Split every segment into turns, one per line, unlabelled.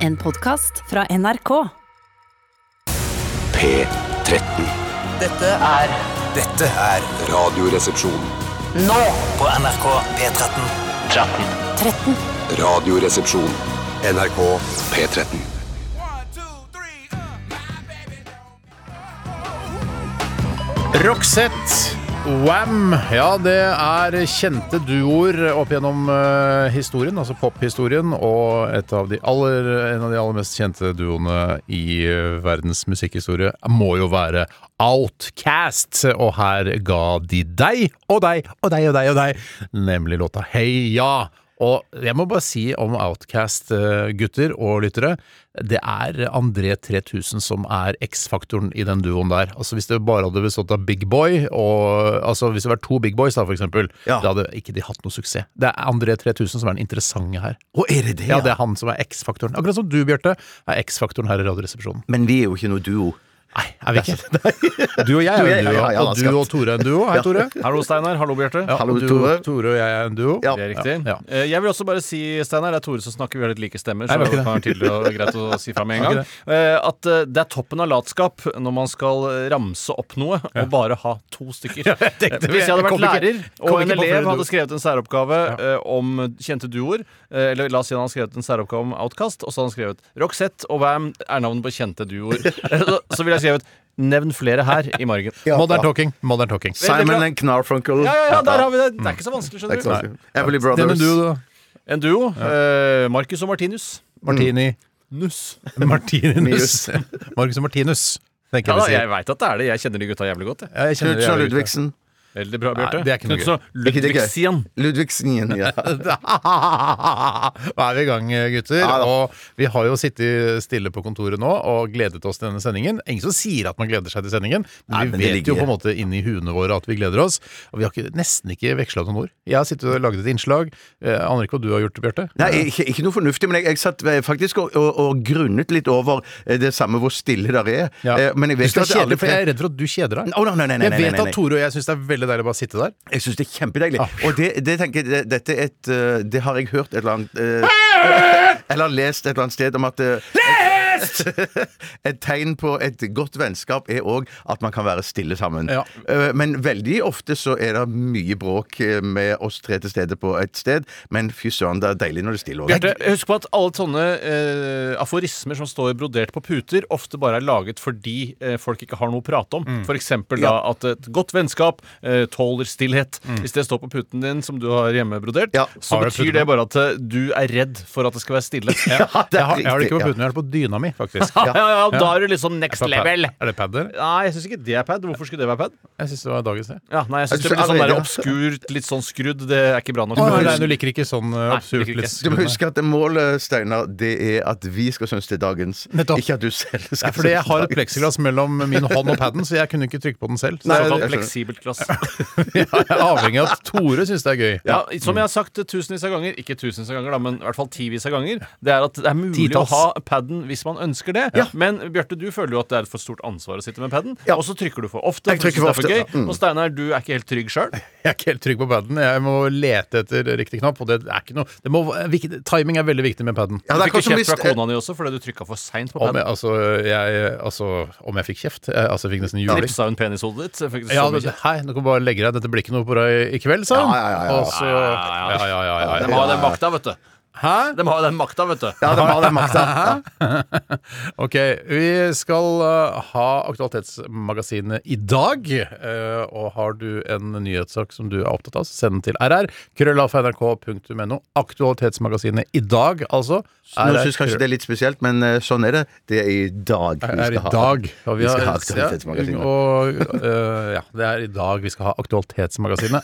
En podkast fra NRK.
P13.
Dette er Dette er
Radioresepsjon.
Nå på NRK P13 13
Radioresepsjon. NRK P13.
Roxette, Wham! Ja, det er kjente duoer opp gjennom eh, historien, altså pophistorien, og et av de aller, en av de aller mest kjente duoene i eh, verdens musikkhistorie må jo være Outcast. Og her ga de deg og deg og deg og deg, og deg nemlig låta Heia! Og jeg må bare si om Outcast-gutter og lyttere Det er André 3000 som er X-faktoren i den duoen der. Altså Hvis det bare hadde bestått av Big Boy og, Altså hvis det var to Big Boys, da, for eksempel, da hadde ikke de hatt noe suksess. Det er André 3000 som er den interessante her.
er det det?
Ja, det er han som er X-faktoren. Akkurat som du, Bjarte, er X-faktoren her i Radioresepsjonen.
Men vi er jo ikke noe duo.
Nei, er vi ikke? Du og jeg er
Du og
en
jeg,
duo,
ja, ja, ja,
og du og Tore er en duo. Hei, Tore.
Hallo, Steinar. Hallo, Bjarte.
Ja,
Hallo,
og du,
Tore.
Tore og jeg er en duo.
Ja.
Det er riktig.
Ja.
Eh, Jeg vil også bare si, Steinar, det er Tore som snakker, vi har litt like stemmer. Så
Nei,
det
det
kan
var
være tydelig og greit å si fra med en gang Eh, At eh, det er toppen av latskap når man skal ramse opp noe og bare ha to stykker.
tenkte
Eh,
vi-
Hvis jeg
jeg
hadde vært
kom ikke-
lærer,
kom
og
ikke
en
på flere
elev
duoer.
hadde skrevet en særoppgave eh, om kjente duoer eh, Eller la oss si han hadde skrevet en særoppgave om Outcast, og så hadde han skrevet Roxette og Wam er navnet på kjente duoer. Så- så ville jeg skrevet Nevn flere her i margen.
Modern talking. Modern talking.
Veldig
Simon
bra.
and Knarfunkel.
Ja, ja, ja, der har vi det! Det er ikke så vanskelig,
Det
skjønner
er ikke
du.
så vanskelig. Everly
Det med
Brothers.
du, da.
En duo. eh, Marcus og Martinus.
Mm.
Martini.
Nuss.
Martinus.
Minus.
Marcus og Martinus, tenker
Ja, da, jeg
jeg vi sier.
veit at det er det. Jeg kjenner de gutta jævlig godt. jeg.
Ja, jeg kjenner det
Knutsen og
jævlig godt.
Ludvigsen.
Veldig bra, Bjarte.
Nei, det er ikke noe
Knutsen og
Ikke det gøy.
Ludvigsian.
Ludvigsen igjen, ja.
Nå er vi i gang, gutter.
Ja da.
og vi har jo sittet stille på kontoret nå og gledet oss til denne sendingen. Ingen som sier at man gleder seg til sendingen, men
Nei,
vi
men det
vet jo
ligger-
på en måte inni huene våre at vi gleder oss. Og vi har ikke, nesten ikke veksla noen ord. Jeg har sittet og laget et innslag. Eh, aner ikke hva du har gjort, Bjarte.
Nei, ikke, ikke noe fornuftig, men jeg, jeg satt eh, faktisk og, og, og grunnet litt over eh, det samme hvor stille der er.
Ja.
Eh, Men jeg
Synes det
vet
er
jo at alle
kjedelig, for jeg
tre
er redd for at du kjeder deg.
Å, nei, nei, nei, nei,
jeg vet
nei, nei.
at Tore og jeg syns det er veldig deilig å bare sitte der.
Jeg syns det er kjempedeilig.
Ah.
Og det, det tenker jeg det, Dette er et eh, Det har jeg hørt et eller annet eh, Eller lest et eller annet sted om at Lest! et tegn på et godt vennskap er òg at man kan være stille sammen.
Ja.
Eh, Men veldig ofte så er det mye bråk eh, med oss tre til stede på et sted. Men fy søren, det er deilig når det er stille òg.
Bjarte, husk på at alle sånne eh, aforismer som står brodert på puter, ofte bare er laget fordi eh, folk ikke har noe å prate om. For eksempel da at et godt vennskap eh, tåler stillhet. Hvis det står på puten din som du har hjemme brodert,
Ja.
så
Har du
betyr
puten?
det bare at eh, du er redd for at det skal være stille. Ja,
Jeg har, jeg har det ikke på puten, jeg har det på dyna mi, faktisk.
ja, ja, Da er du liksom next
Er det pad-
level.
Er det pad der?
Nei, jeg syns ikke det er pad. Hvorfor skulle det være pad?
Jeg syns det var dagens, det.
Ja, nei, jeg synes
Er
det blir
du så-
sånn der
allerede?
obskurt, litt sånn skrudd. Det er ikke bra nok.
Å,
husk-
nei, du liker ikke sånn eh, absurd
liker ikke.
litt-
Du må huske at det målet, Steinar, det er at vi skal synes det er dagens.
Nettopp.
Ikke at du selv skal
Nei, fordi jeg
synes
har et
dagens.
pleksiglass mellom min hånd og paden, så jeg kunne ikke trykke på den selv. Så
Nei,
jeg,
Såkalt
jeg skjønner.
fleksibelt glass.
jeg er avhengig av at Tore syns det er gøy.
Ja, som jeg har sagt tusenvis av ganger, ikke tusenvis av ganger, da, men i hvert fall tivis av ganger, det er at det er mulig
Titalls.
å ha paden hvis man ønsker det. Men Bjarte, du føler jo at det er et for stort ansvar å sitte med paden, og så trykker du for ofte.
Jeg
for du
trykker
synes
for
det er
ofte, Mm.
for gøy. Og Steinar, du er ikke helt trygg sjøl.
Jeg er ikke helt trygg på paden. Jeg må lete etter riktig knapp, og det er ikke noe det må, viktig- Timing er veldig viktig med paden.
Ja,
Du
det er
fikk jo
akkurat som
kjeft
hvis
fra kona di også fordi du trykka for seint på
Om
paden.
jeg, altså, jeg, altså, om jeg fikk kjeft? Eh, Altså, jeg fikk nesten juling.
Knipsa hun penishodet ditt? Fikk du så
Ja,
mye
men,
kjeft?
hei, nå kan du bare legge deg. Dette blir ikke noe på deg i kveld, sa hun.
Sånn Ja, ja, ja, ja.
Og så- ja, ja, ja, ja, ja.
De har jo den makta, vet du.
Hæ?
De har jo den makta, vet du.
Ja, det var den makta. Ja.
Ok, vi skal eh, ha Aktualitetsmagasinet i dag. eh, og har du en nyhetssak som du er opptatt av, så send den til rr. krøllalfa.nrk.no. Aktualitetsmagasinet i dag, altså.
Nå
RR
syns kanskje det er litt spesielt, men eh, sånn er det. Det er i dag vi
er i
skal ha.
dag. og vi
vi skal
har-
ha Aktualitetsmagasinet.
Ja, og, eh, ja, det er i dag vi skal ha Aktualitetsmagasinet.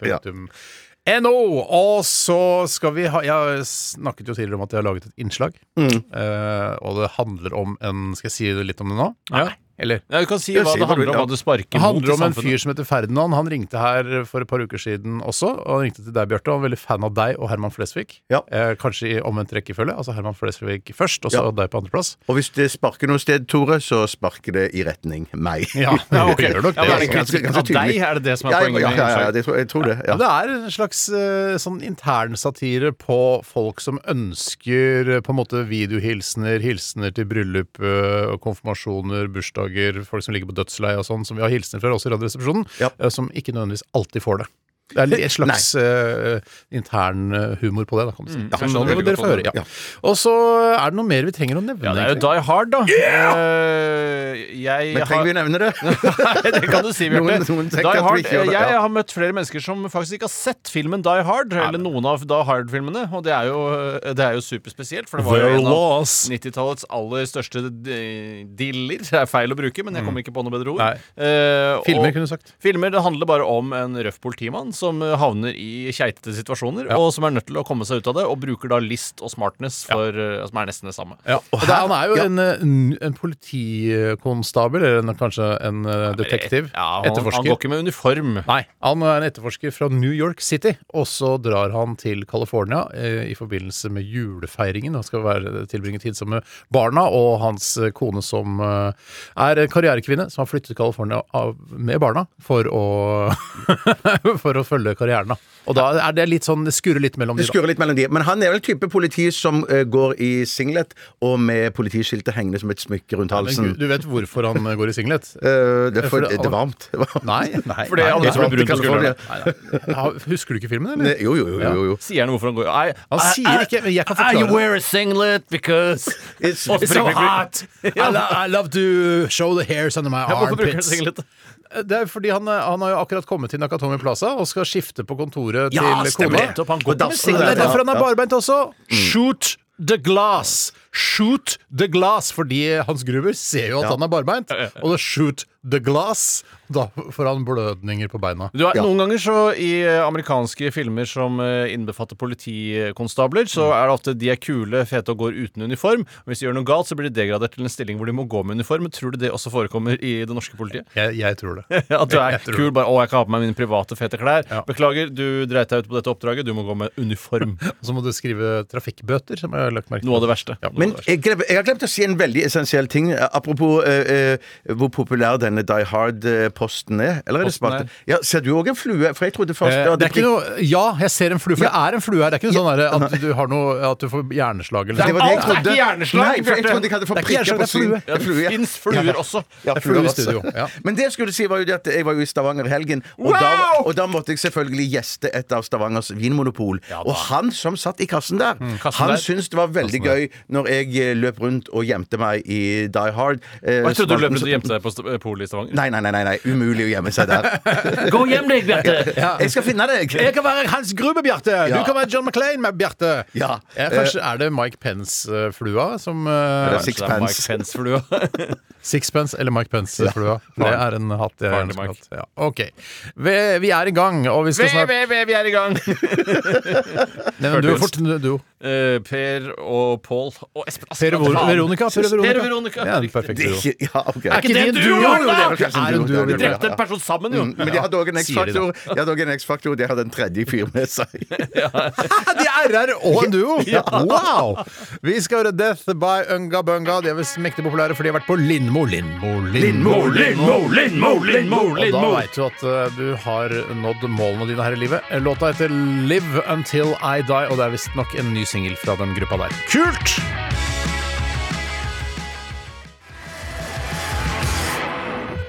rrkrøllalfa.nrk.no. Og så skal vi ha Jeg snakket jo Mm. tidligere om at jeg har laget et innslag. eh, og det handler om en Skal jeg si litt om det nå?
Nei.
Eller?
Ja, du kan si
Jeg
hva det
sier hva
handler
du vil,
om,
ja.
hva du sparker
Det handler
mot i
om en
samfunnet.
fyr som heter Ferdinand. Han ringte her for et par uker siden også. og Han ringte til deg, Bjarte. og Han var veldig fan av deg og Herman Flesvig.
Ja.
Eh, kanskje i omvendt rekkefølge. Altså Herman Flesvig først, og så
Ja.
deg på andreplass.
Og hvis det sparker noe sted, Tore, så sparker det i retning meg.
Ja,
Ja, ok.
gjør nok
Ja,
det.
men er det
altså.
Ganske-
kritikk
ganske
av deg?
tydelig.
Er det det som
Ja,
er
ja,
poenget?
ja,
med
ja, ja,
Inside?
det tror, jeg tror det. Ja.
Men Det er en slags eh, sånn intern satire på folk som ønsker eh, på en måte videohilsener, hilsener til bryllup, eh, og konfirmasjoner, bursdager, folk som ligger på dødsleiet og sånn, som vi har hilsener fra også i Radioresepsjonen,
Ja.
eh, som ikke nødvendigvis alltid får det. Det er litt- et slags eh, intern eh, humor på det, da, kan du si. Ja,
jeg skjønner
nå må
sånn veldig
dere
godt
få
hva du
høre. Ja. Og så er det noe mer vi trenger å nevne.
Ja, det er jo
egentlig.
Die Hard, da. Eh, jeg
Men trenger vi å nevne det?
Nei, det kan du si, Bjarte.
Noen- noen tenker
Die
at vi
Hard,
ikke gjør
jeg,
det, ja.
har møtt flere mennesker som faktisk ikke har sett filmen Die Hard, eller noen av Die Hard-filmene, og det er jo, det er jo superspesielt, for det var jo
There
en av
was.
90-tallets aller største d- diller. Det er feil å bruke,
Mm.
men jeg kommer ikke på noe bedre ord.
Nei.
Eh, og-
Filmer, kunne du sagt.
Filmer, Det handler bare om en røff politimann som eh, havner i keitete situasjoner, og som er nødt til å komme seg ut av det, og bruker da list og smartness, for, eh, som er nesten det samme.
Ja, og
her-
han er jo
ja.
en, eh, n- en politikonstabel, eller en, kanskje en eh, detektiv.
Ja, han, han går ikke med uniform.
Nei, han er en etterforsker fra New York City, og så drar han til California eh, i forbindelse med julefeiringen. Han skal være, tilbringe tid sammen med barna og hans eh, kone, som eh, er en karrierekvinne, som har flyttet til California av, med barna for å, for å følge karrieren. da. Og da er det litt sånn, det skurrer litt mellom
Det
de da.
skurrer litt mellom de. Men han er vel type politi som eh, går i singlet og med politiskiltet hengende som et smykke rundt
Men
halsen.
Gud, du vet hvorfor han går i singlet?
Eh, det, er
For
for,
det-
det er varmt. Det er varmt.
Nei, nei.
Fordi
nei,
andre
det er
som
varmt i
blir brune på skuldrene.
California. Nei, nei. Ja, Husker du ikke filmen, eller?
Nei, Jo, jo, jo. jo, jo.
Sier han hvorfor han går I,
Han
I-
sier
I-
ikke, men jeg kan
I
forklare det.
wear a singlet because
It's-
it's so hot.
I, lo I love to show the hairs under my
Ja, Hvorfor bruker han
armpits.
singlet?
Det er fordi han, eh, han har jo akkurat kommet til Nakatomi Plaza og skal skifte på kontoret til
Ja,
kona.
stemmer det. Nettopp, han går
Og da-
med
så det
singlet,
er derfor han er
ja. Mm.
barbeint også. Shoot the glass! Shoot the glass! Fordi Hans Gruber ser jo at han er barbeint, og da shoot the glass. Da får han blødninger på beina.
Du har, Noen ganger så i eh, amerikanske filmer som eh, innbefatter politikonstabler, så
Mm.
er det ofte de er kule, fete og går uten uniform. Og hvis de gjør noe galt, så blir de degradert til en stilling hvor de må gå med uniform. Tror du det også forekommer i det norske politiet?
Jeg, jeg tror det.
At du er
Jeg tror
kul, bare 'Å, jeg kan ha på meg mine private, fete klær'.
Ja.
Beklager, du dreit deg ut på dette oppdraget. Du må gå med uniform.
Så må du skrive trafikkbøter, som jeg har lagt merke til.
Noe av det verste.
Ja.
Men jeg, glem- jeg har glemt å si en veldig essensiell ting. eh, Apropos eh, eh, hvor populær denne Die Hard-posten er. Eller er det
Posten er-
spalten? Ja, ser du òg en flue? For jeg trodde først
Eh,
ja,
det er ikke noe, ja, jeg ser en flue, for
Ja.
det er en flue her. Det er ikke noe sånn der at du, har noe, at du får hjerneslag eller
Det var det jeg
Alt er ikke
trodde.
hjerneslag,
Nei, for jeg
Bjarte.
trodde ikke jeg hadde
Det
fått
er ikke
prikker på
hjerneslag, det
syn.
er
Ja, det fins fluer også.
Ja,
Det er flue i
altså.
studio, ja.
Men det jeg skulle si var jo det at jeg var jo i Stavanger i helgen, og, da, og da måtte jeg selvfølgelig gjeste et av Stavangers vinmonopol. og han som satt i kassen der,
kassen
han
der.
syntes det var veldig gøy når jeg eh, løp rundt og gjemte meg i Die Hard. eh,
Og jeg trodde du løp
spalten,
rundt
så-
og gjemte deg på st- eh, polet i Stavanger.
Nei, nei, nei, nei, nei. umulig å gjemme seg der.
Gå hjem deg, Bjarte!
Jeg skal finne deg!
Jeg kan være Hans Gruber, Bjarte!
Ja.
Du kan være John McClain, med Bjarte!
Ja.
Eh, kanskje er det Mike Pence-flua som eh,
det er
Sixpence. Mike
Sixpence.
Pence-flua.
Sixpence eller Mike Pence-flua. Det er en hatt jeg gjerne
Faren til
skulle
Mike.
hatt. Ja. OK. Vi, vi er i gang, og vi skal snart
vi er i gang!
Nevn du
Hørte
fort. du- Du.
Eh, per og Pål og Espen
Per og
Askeladd, faen.
Veronica. Per og Veronica.
Per og Veronica.
Ja, en
Riktig.
perfekt
Det er
duo.
ikke Ja, OK.
Er ikke det en duo,
Jo, jo, det
da?!
er kanskje
Er det en
en duo,
duo,
det er
Bjørte?
det.
Drepte en person sammen, jo!
Men de hadde òg en
Sier de da.
X-faktor. De hadde også en X-faktor, de hadde en tredje fyr med seg.
De er RR og en duo! Wow! Vi skal høre Death by Unga Bunga. De er visst mektig populære, for de har vært på Lindmo. Lindmo, Lindmo, Og da veit du at eh, du har nådd målene dine her i livet. Låta heter Live Until I Die, og det er visstnok en ny singel fra den gruppa der. Kult!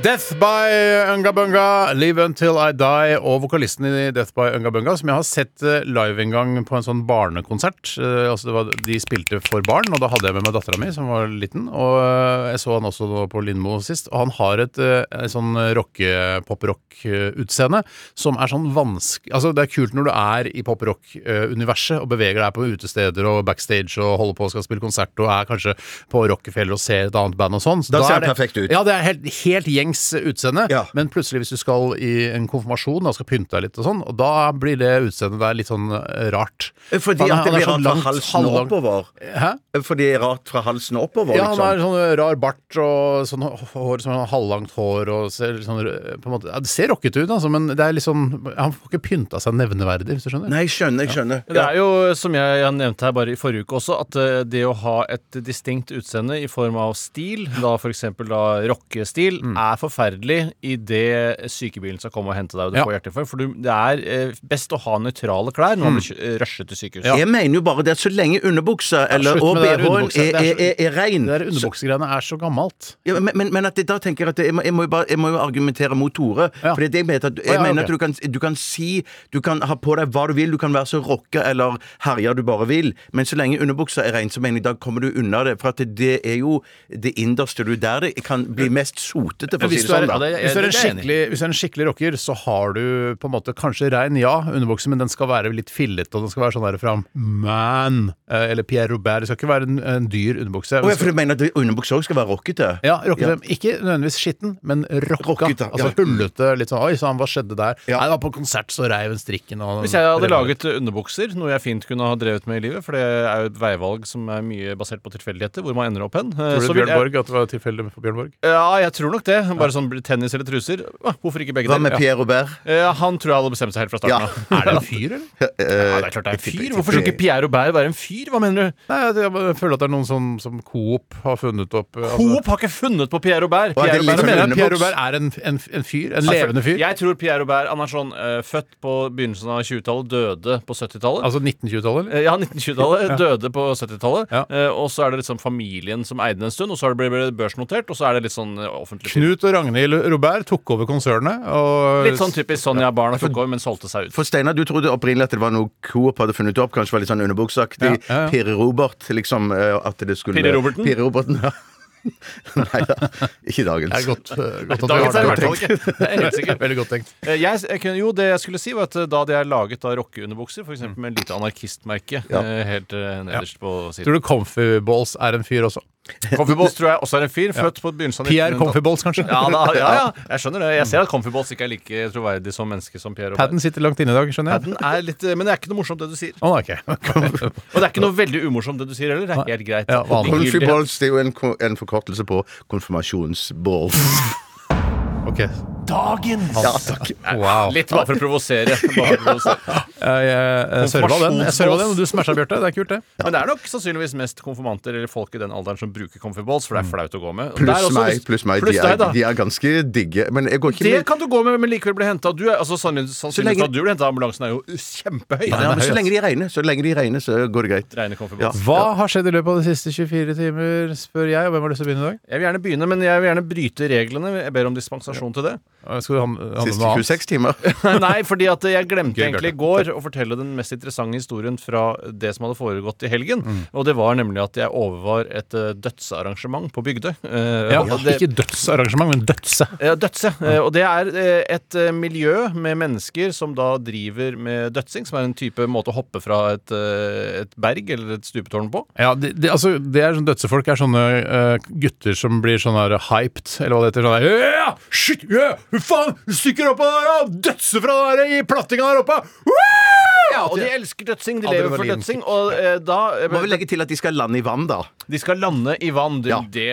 Death by Unga Bunga, Live Until I Die og vokalisten i Death by Unga Bunga, som jeg har sett eh, live en gang på en sånn barnekonsert. Eh, Altså det var, de spilte for barn, og da hadde jeg med meg dattera mi, som var liten. Og eh, jeg så han også nå på Lindmo sist. Og han har et eh, et sånn rocke, poprock-utseende som er sånn vanskelig Altså, det er kult når du er i poprock-universet og beveger deg på utesteder og backstage og holder på og skal spille konsert og er kanskje på Rockefeller og ser et annet band og sånn. Så
Da ser
er
han
det-
perfekt ut.
Ja, det er helt, helt gjeng gjengs utseende,
Ja.
men plutselig hvis du skal i en konfirmasjon da skal pynte deg litt og sånn, og da blir det utseendet der litt sånn eh, rart.
Fordi
Han er-
at
han er
det blir
sånn
rart fra
langt,
halsen og
halvlang-
oppover.
Hæ?
Fordi det er rart fra halsen og oppover,
Ja, han har
liksom.
sånn rar bart og sånn hår som er halvlangt hår og ser litt sånn eh, på en måte, ja, Det ser rockete ut, altså, men det er liksom Han får ikke pynta seg nevneverdig, hvis du skjønner.
Nei, jeg skjønner, jeg skjønner.
Det er jo, som jeg, jeg nevnte her bare i forrige uke også, at eh, det å ha et distinkt utseende i form av stil, da f.eks. da rockestil, er forferdelig idet sykebilen skal komme og hente deg og du
Ja.
får hjerteinfarkt. For du, det er eh, best å ha nøytrale klær når man blir kjø- eh, rushet til sykehus.
Jeg mener jo bare det at så lenge underbuksa eller,
slutt
og
med det der
BH-en
underbuksa.
er,
Det er
er,
så-
er, er rein,
Det der
så-
underbuksegreiene er så gammelt.
Ja, men, men, men at det, da tenker jeg at det, jeg, må, jeg, må jo bare, jeg må jo argumentere mot Tore.
Ja.
For det er det jeg mener, at, jeg
ja,
mener
ok.
at du kan, du kan si Du kan ha på deg hva du vil, du kan være så rocka eller herja du bare vil, men så lenge underbuksa er rein, så mener jeg da kommer du unna det. For at det, det er jo det innerste du der det kan bli mest sotete, for å si
Hvis
det
du, er,
sånn. da
hvis, du er en
det er jeg enig i.
skikkelig, hvis du er en skikkelig rocker, så har du på en måte kanskje rein, ja, underbukse, men den skal være litt fillete, og den skal være sånn der fra Man eh, eller Pierre Robert. Det skal ikke være en, en dyr underbukse.
Å ja, for du mener at underbuksa òg skal være rockete?
Ja, rockete. Ikke nødvendigvis skitten, men rocka.
Rockete, ja.
Altså hullete. Litt sånn Oi sann, hva skjedde der?
Ja.
Nei, det var på konsert, så reiv hun strikken og
Hvis jeg hadde
rev den ut.
laget underbukser, noe jeg fint kunne ha drevet med i livet, for det er jo et veivalg som er mye basert på tilfeldigheter, hvor man ender opp hen eh,
Tror
så
du
vil
Bjørn
jeg,
Borg at det var tilfeldig for Bjørn Borg?
Ja, jeg tror nok det. Bare sånn tennis eller truser. Ah, Hvorfor ikke begge
Hva med
Ja.
Pierre Robert?
Eh, han tror jeg hadde bestemt seg helt fra starten
Ja.
av. Er det en fyr?
Fyr, eller?
Ja, det er klart det er en fyr. Altså- Hvorfor skulle ikke Pierre Aubert være en fyr? Hva mener du?
Nei, jeg, jeg bare føler at det er noen som, som Coop har funnet opp eh, altså-
Coop har ikke funnet på Pierre Aubert.
Hva er
Pierre
det litt
Du
Aubert
sånn
mener at
underbuks?
Pierre Robert er en, en, en fyr? En levende fyr?
Jeg tror Pierre Aubert han er sånn eh, født på begynnelsen av 20-tallet, døde på 70-tallet.
Altså 1920-tallet, eller?
Eh, ja, 1920-tallet. Døde på 70-tallet.
Ja.
Eh, og så er det liksom familien som eide den en stund, og så har det blitt- blitt børsnotert, og så er det litt sånn eh, offentlig.
Knut og Ragnhild Robert tok over konsernet. Og
Litt sånn typisk Sonja Barna tok over, men solgte seg ut.
For Steinar, du trodde opprinnelig at det var noe Coop hadde funnet opp. Kanskje var litt sånn underbuksaktig.
Ja, ja, ja.
Pirre Robert, liksom. eh, At det skulle
Pirre Roberten?
Pirre Roberten, ja. Nei da, ikke dagens.
Det er godt, eh, godt at vi har det.
Dagens er i hvert fall ikke. Det er helt sikkert.
Veldig godt tenkt.
Eh, Jeg, jeg, kunne- jo, det jeg skulle si var at eh, da hadde jeg laget da rockeunderbukser, f.eks. med et lite anarkistmerke eh, helt eh, nederst på siden.
Tror du Comfyballs er en fyr også?
Comfyballs tror jeg også er en fyr, født på begynnelsen av
Pierre
1900-tallet.
Comfyballs, kanskje?
Ja, da, ja, ja, jeg skjønner det. Jeg ser at Comfyballs ikke er like troverdig som menneske som Pierre Robert.
Padden sitter langt inne i dag, skjønner jeg.
Padden er litt, eh, men det er ikke noe morsomt, det du sier.
Å, nei, ok.
Og det er ikke noe veldig umorsomt, det du sier heller. Det er helt greit.
Ja, vanlig.
Country
Likegyldighet.
balls det er jo en, ko- en forkortelse på konfirmasjonsball.
Ok.
Dagens
Ja, takk.
Wow.
Litt bare for å provosere. Bare for å provosere.
Jeg, jeg, eh, jeg serva den, jeg serva den, og du smasha, Bjarte. Det er kult, det.
Men det er nok sannsynligvis mest konfirmanter eller folk i den alderen som bruker Comfyballs, for det er flaut å gå med. Og der
Mm. Pluss
også-
meg. Pluss meg.
Pluss
De
deg,
er,
da.
de er ganske digge. Men jeg går ikke
Det
med
kan du gå med, men likevel bli henta. Altså, sannsyn- sannsynligheten for at du blir henta av ambulansen er jo kjempehøy.
ja, men
Nei,
så
nei,
lenge de regner, så lenge de regner, så går det greit.
Reine konfirmasjon.
Hva har skjedd i løpet av de siste 24 timer, spør jeg, og hvem har lyst til å begynne i dag?
Jeg vil gjerne begynne, men jeg vil gjerne bryte reglene. Jeg ber om dispensasjon til det.
Eh, Skal du han- handle om
Siste
noe annet?
26 timer.
Nei, fordi at jeg glemte
Gøy,
egentlig i går å fortelle den mest interessante historien fra det som hadde foregått i helgen. Og det var nemlig at jeg overvar et eh, dødsarrangement på Bygdøy. Eh,
Ja,
og det-
ikke dødsarrangement, men dødse.
Ja, Dødse. Eh, Og det er eh, et eh, miljø med mennesker som da driver med dødsing, som er en type måte å hoppe fra et, eh, et berg eller et stupetårn på.
Ja, det, det, altså, det er sånn dødsefolk er sånne eh, gutter som blir sånn her hyped, eller hva det heter. Sånn her, ja, shit, ja, hva faen, stikker opp av der, ja, dødse fra der i plattinga der oppe. Woo!
Ja, og de elsker dødsing. De lever
Adrenalinkick.
for dødsing. Og eh, da eh,
Må vi legge til at de skal lande i vann, da.
De skal lande i vann. Det,
Ja.
det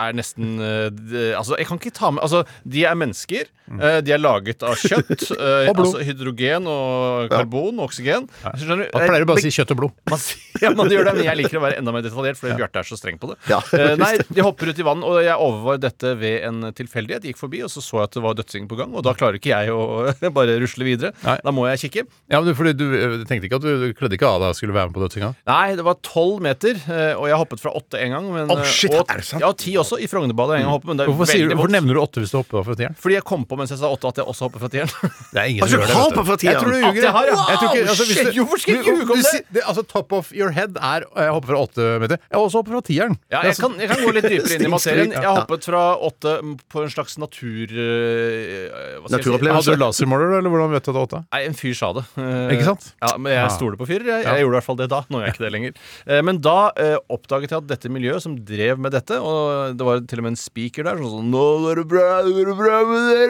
er nesten eh, det, Altså, jeg kan ikke ta med Altså, de er mennesker. eh, De er laget av kjøtt. eh,
Og blod.
Altså hydrogen og karbon og oksygen. Skjønner du? Eh,
Da pleier du bare å si kjøtt og blod.
Man sier- ja, man gjør det, men jeg liker å være enda mer detaljert, fordi Bjarte er så streng på det.
Ja.
Eh, nei, de hopper ut i vann, og jeg overvar dette ved en tilfeldighet. Gikk forbi, og så så jeg at det var dødsing på gang, og da klarer ikke jeg å bare rusle videre.
Nei.
Da må jeg kikke.
Ja, men du, fordi du eh, tenkte ikke at du, du kledde ikke av deg og skulle være med på dødsinga?
Nei, det var tolv meter, eh, og jeg hoppet fra åtte en gang. Men,
Å, shit,
eh, og,
er det sant?
Ja, og ti også, i Frognerbadet en gang. Hoppet, men det er
Hvorfor, sier,
veldig
du- hvorfor
vondt.
nevner du åtte hvis du hopper av fra tieren?
Fordi jeg kom på mens jeg sa åtte, at jeg også hopper fra tieren.
Det er ingen
Altså,
som gjør det.
hopper
vet
fra tieren.
Jeg tror du
At
ljuger.
jeg har, ja.
jeg tror ikke, altså, hvis
Shit,
du-
hvorfor skal jeg
du-
ljuge om
du
det?
si- Altså, top of your head er eh, Jeg hopper fra åtte meter. Jeg har også hoppet fra tieren.
Ja,
Det er sånn
jeg,
så-
kan, jeg kan gå litt dypere inn i materien.
Ja.
Jeg hoppet fra åtte m, på en slags natur... eh, hva skal jeg si?
Naturopplevelse.
Hadde du lasermåler, eller hvordan vet du at det er åtte?
Nei, en fyr sa det. Eh,
Ikke sant?
Ja, men jeg stoler på fyrer. Jeg, jeg gjorde i hvert fall det da. Nå gjør jeg ikke det lenger. Eh, Men da eh, oppdaget jeg at dette miljøet som drev med dette, og det var til og med en speaker der som sånn Nå er det bra, nå er det bra med dere,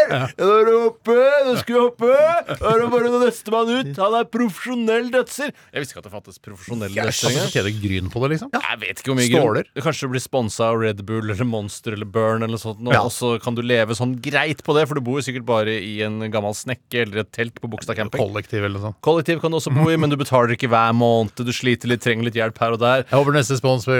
eller? Nå er det oppe, nå skal vi hoppe! Nå er det bare nestemann ut! Han er profesjonell dødser! Jeg visste ikke at det fantes profesjonelle dødsere
Altså,
engang.
tjener gryn på det, liksom?
Jeg vet ikke hvor mye
Ståler?
grunn. Kanskje du blir sponsa av Red Bull eller Monster eller Burn eller sånt, og,
Ja.
og så kan du leve sånn greit på det, for du bor jo sikkert bare i en gammel snekke eller et telt på Bogstad camping.
Kollektiv eller noe sånt.
Kollektiv kan du også bo i, men du betaler ikke hver måned. Du sliter litt, trenger litt hjelp her og der.
Jeg håper neste spons fra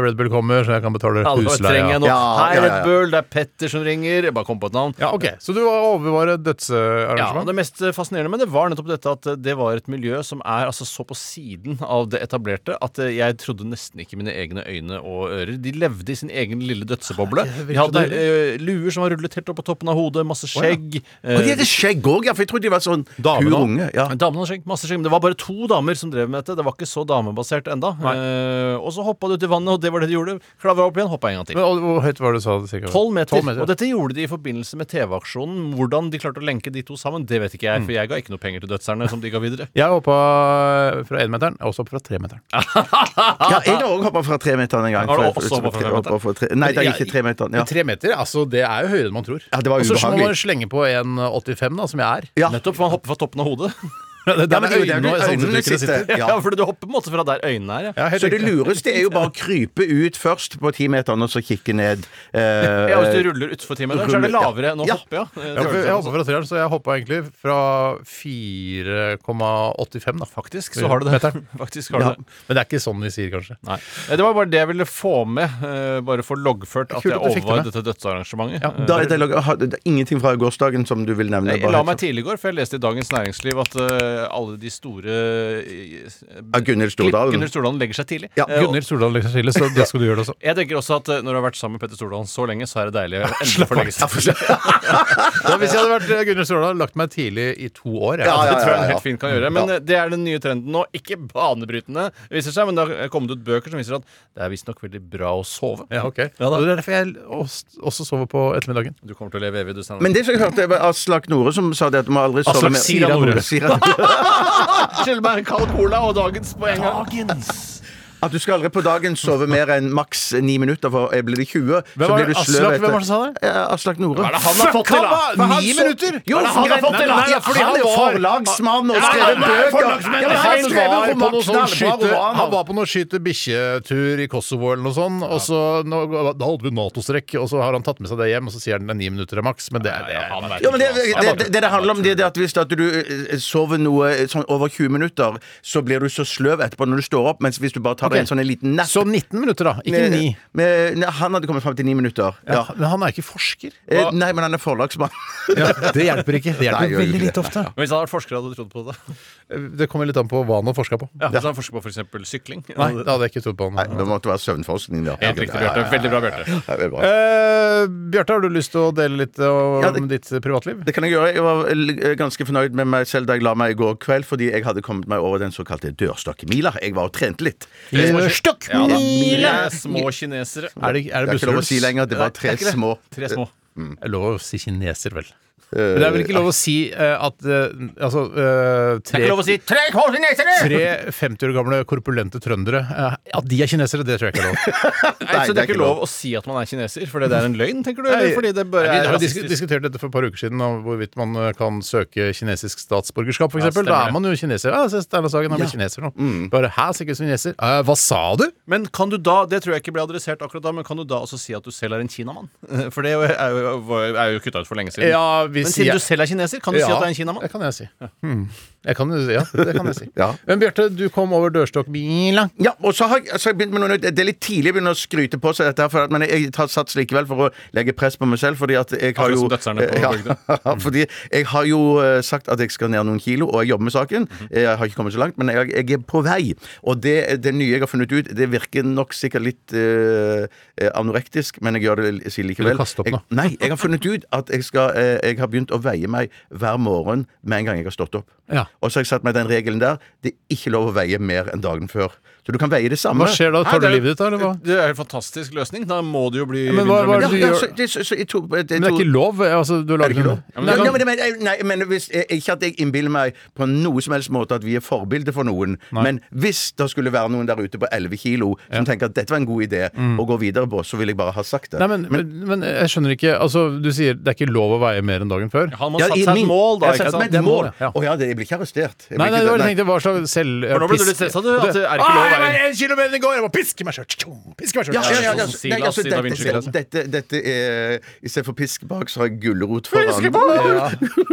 Red Bull kommer, så jeg kan betale
Alle bare
husleia.
trenger jeg nå.
Ja,
Hei,
ja, ja,
Red
ja.
Bull, det er Petter som ringer. Jeg bare kom på et navn.
Ja, ok, Så du overvarer
Ja, og
dødsarrangement?
Det mest eh, fascinerende med det var nettopp dette at eh, det var et miljø som er altså så på siden av det etablerte at eh, jeg trodde nesten ikke mine egne øyne og ører. De levde i sin egen lille dødseboble.
Det virker
De hadde
så
eh, luer som var rullet helt opp på toppen av hodet, masse skjegg.
Og de
eh,
hadde skjegg òg, ja, for jeg trodde de var sånn
Damene
pur
også.
unge. Ja.
Damene hadde skjegg, masse skjegg, men det var bare to damer som drev med dette. Det var ikke så damebasert enda. Eh, og så hoppa de ut i vannet, og det var det de gjorde. Klavra opp igjen, hoppa en gang til.
Men, og Hvor høyt var det du sa det? cirka?
12 meter.
meter, ja.
Og dette gjorde de i forbindelse med TV-aksjonen. Hvordan de klarte å lenke de to sammen, det vet ikke jeg, for jeg ga ikke noe penger til dødserne som de ga videre.
Jeg hoppa fra énmeteren, og også fra tremeteren.
ja, jeg har òg hoppa fra tremeteren en gang.
ah. Har du
For-
også hoppet fra
for-
tremeteren?
hoppet fra tre- Nei, det er ikke tremeteren. Ja.
Tre meter, altså det er jo høyere enn man tror.
Ja, det var
og så må man
ubehagelig.
bare slenge på 1,85, da, som jeg er.
Ja.
Nettopp, for han hopper fra toppen av hodet.
Det
Ja, men det er jo der du- øynene sitter.
Ja,
Ja.
fordi du hopper på en måte fra der øynene er. Ja.
Ja, helt
Så det
riktig.
lureste er jo bare å krype ut først på timeteren, og så kikke ned. eh,
Ja, hvis du ruller utfor timen, der, så er det lavere enn å
Ja.
hoppe, ja.
Ja, for jeg hoppa fra treeren, så jeg hoppa egentlig fra 4,85, da.
Faktisk så har du det.
Meteren.
Faktisk har du
Ja.
det.
Men det er ikke sånn de sier, kanskje.
Nei. Eh, Det var bare det jeg ville få med. eh, Bare få loggført at
Kult
jeg
at du fikk det
overvar
med.
dette dødsarrangementet.
Ja.
Eh,
Da er det, log- har- det er ingenting fra gårsdagen som du vil nevne? sånn.
Jeg la meg til i går, for jeg leste i Dagens Næringsliv at eh, alle de store uh,
Av Gunhild Stordalen.
Gunhild Stordalen legger seg tidlig.
Ja,
Eh, og-
Gunnhild Stordal legger seg til, så det skal du gjøre det også.
Jeg tenker også at eh, når du har vært sammen med Petter Stordalen så lenge, så er det deilig å endelig få legge seg.
Ja, hvis jeg hadde vært Gunnhild Stordal, lagt meg tidlig i to år. jeg.
Ja,
Det
ja,
tror jeg
ja,
den
ja.
helt fint kan gjøre. Men eh, det er den nye trenden nå. Ikke banebrytende, viser seg, men det har kommet ut bøker som viser at det er visstnok veldig bra å sove.
Ja, ok. Og det er derfor jeg også også sover på ettermiddagen.
Du kommer til å leve evig, du, Steinar.
Men det som jeg hørte, var Aslak Nore som sa det at du må aldri
Aslak
sove med
Sira Nore.
Sira Nore.
Skyld Ah, meg en kald cola og dagens på en gang.
At du skal aldri på dagen sove mer enn maks ni minutter, for eh, blir det 20, så
var
blir
det-
du
Aslak,
sløv
hvem var det som sa det?
Eh, Aslak Nore.
Hva er det han har fått til, da?
han var- Ni minutter!
Hva er
Jo,
det han har
greit,
fått til, da?
men- men-
Fordi
han
han
er jo
var-
forlagsmann og
Ja,
skrevet
han er
bøker.
forlagsmann,
Ja, men
han
han
skrev
skrev
var
jo
på noe sånn skyte, han
romaner.
var på noe skyte bikkjetur i Kosovo eller noe sånt, og så nå, da holdt vi Nato-strekk, og så har han tatt med seg det hjem, og så sier han det er ni minutter er maks, men det er det.
Ja, han vet
Ja, men det,
ikke hva han
det,
sa.
det, det det handler om, det er at hvis at du eh, sover noe eh, sånn over 20 minutter, så blir du så sløv etterpå når du står opp, mens hvis du bare tar deg en sånn en liten napp
Så 19 minutter, da. Ikke
med-
ni.
med- nei, Han hadde kommet fram til ni minutter. Ja.
Men han er ikke forsker.
Eh, Nei, men han er forlagsmann.
det hjelper ikke. Det
Nei, gjør ikke det.
ofte.
Men Hvis han hadde vært forsker, hadde du trodd på det?
Det kommer litt an på hva han har forska på.
Ja, hvis han hadde forsket på f.eks. sykling?
Nei, det hadde jeg ikke trodd på
Nei,
han.
det måtte være søvnforskning, da.
Helt riktig, Bjarte. Veldig bra, Bjarte.
Ja, det er bra.
Eh, Bjarte, har du lyst til å dele litt eh, om
Ja, det-
ditt privatliv?
Det kan jeg gjøre. Jeg var eh, ganske fornøyd med meg selv da jeg la meg i går kveld, fordi jeg hadde kommet meg over den såkalte dørstokkmila. Jeg var og trente litt.
Dørstokk!
Ja, da.
Mila!
Mye Små kinesere.
Er det, er
Det er
det
ikke lov å
busseruls?
si lenger. Det var
Nei,
tre
det er ikke det.
små.
Tre små.
Det er lov å si kineser, vel? Men det er vel ikke lov å si eh, at eh, Altså eh,
Det er
tre,
ikke lov å si 'tre kinesere'!
tre 50 år gamle korpulente trøndere eh, At de er kinesere, det tror jeg ikke er lov.
Nei, så det er ikke lov
lov.
å si at man er kineser, fordi det er en løgn, tenker du? Eller fordi det
Nei,
bare
vi
er
har disk
rasistisk?
diskutert dette for et par uker siden, om hvorvidt man eh, kan søke kinesisk statsborgerskap,
Ja,
f.eks.
stemmer
da
det.
er man jo kineser. Ja, se Steinar Sagen, han ble kineser nå. Bare hæ, sikkert kineser. Eh, hva sa du?
Men kan du da, det tror jeg ikke ble adressert akkurat da, men kan du da også si at du selv er en kinamann? For det er jo, er jo kutta ut for lenge siden.
Ja, hvis
men siden
jeg-
du selv er kineser, kan du si
Ja,
at du er en kinamann?
Det kan jeg si. Hmm. Jeg kan, jo- ja, det kan jeg si.
Ja.
Men Bjarte, du kom over dørstokkmila.
Ja, og så har jeg, så har jeg begynt med noe nytt. Det er litt tidlig å begynne å skryte på seg dette, her, for at, men jeg tar sats likevel for å legge press på meg selv. Fordi at jeg
Akkurat
har jo
som dødserne på
ja, Fordi jeg har jo eh, sagt at jeg skal ned noen kilo, og jeg jobber med saken.
Mhm.
Jeg har ikke kommet så langt, men jeg, jeg er på vei. Og det, det nye jeg har funnet ut, det virker nok sikkert litt eh, anorektisk, men jeg gjør det li- si likevel.
kaste opp
jeg,
nå?
Nei, jeg har funnet ut at jeg skal eh, Jeg har har begynt å veie meg hver morgen med en gang jeg har stått opp.
Ja.
Og så har jeg satt meg den regelen der. Det er ikke lov å veie mer enn dagen før. Så du kan veie det samme.
Hva skjer da? Tar du livet ditt, da? eller hva?
Det er en fantastisk løsning. Da må det jo bli
men hva-
mindre og
hva er
Ja,
mindre.
du
ja,
gjør-
så, det, så, så, jeg tror-
Men
jeg
det er
tror-
ikke lov? Altså, du har
Er det ikke lov?
laget
Nei, nei, men, jeg- nei, men hvis, jeg- Ikke at jeg innbiller meg på noe som helst måte at vi er forbilde for noen, men hvis det skulle være noen der ute på 11 kilo som tenker at dette var en god idé å gå videre på, så vil jeg bare ha sagt det.
Mm. Nei, men, men, men jeg skjønner ikke altså, Du sier det er ikke lov å veie mer enn dagen før?
Han må
Ja,
ha
i
satt seg
min-
et mål, da.
Jeg har
Ikke
satt meg
sant?
et mål.
Ja.
Å ja, det- jeg blir ikke arrestert. Jeg
Nei,
blir
nei,
ikke
det var
det,
det jeg tenkte hva slags selv...
For nå ble du
piss-
litt stresset, du, at det er ikke
Ah,
lov å
jeg
veie-
var en kilometer i går! Jeg må piske meg sjøl! Piske meg
Ja, ja, ja, ja.
Sånn
Nei,
Silas
altså,
i Da
dette,
Vinci-klasse.
dette, dette, er Istedenfor pisk bak, så har jeg gulrot foran.
Piskebak!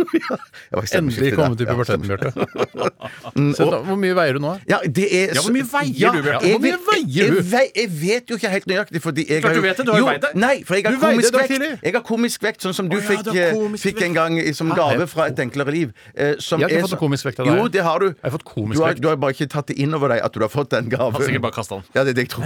Ja. Ja, jeg var i
Endelig
stemmeskiftet
kommet
der.
i puberteten,
Ja,
Bjarte.
stemmer.
Så da, Hvor mye veier du nå? da?
Ja, det er
Ja, hvor mye veier du, Bjørn?
jeg
Hvor mye
vet-
veier
jeg-
du?
Jeg, vei, jeg vet jo ikke helt nøyaktig, fordi jeg
Klart
jo-
du vet det, du har jo veid deg.
Nei, for jeg har
Du veide
komisk
deg
vekt.
tidlig.
Jeg har komisk vekt, sånn som du
Å ja,
fikk,
du har
eh,
komisk
fikk
vekt.
en gang i- som
Hæ?
gave fra Et enklere liv. eh, som
Jeg har ikke
er
fått
så-
noe komisk vekt av deg.
Jo, det har du.
Jeg har fått komisk
du har,
vekt.
du har bare ikke tatt det inn over deg at du har fått den gaven.
Han har sikkert bare kastet den.
Ja, det er det jeg tror.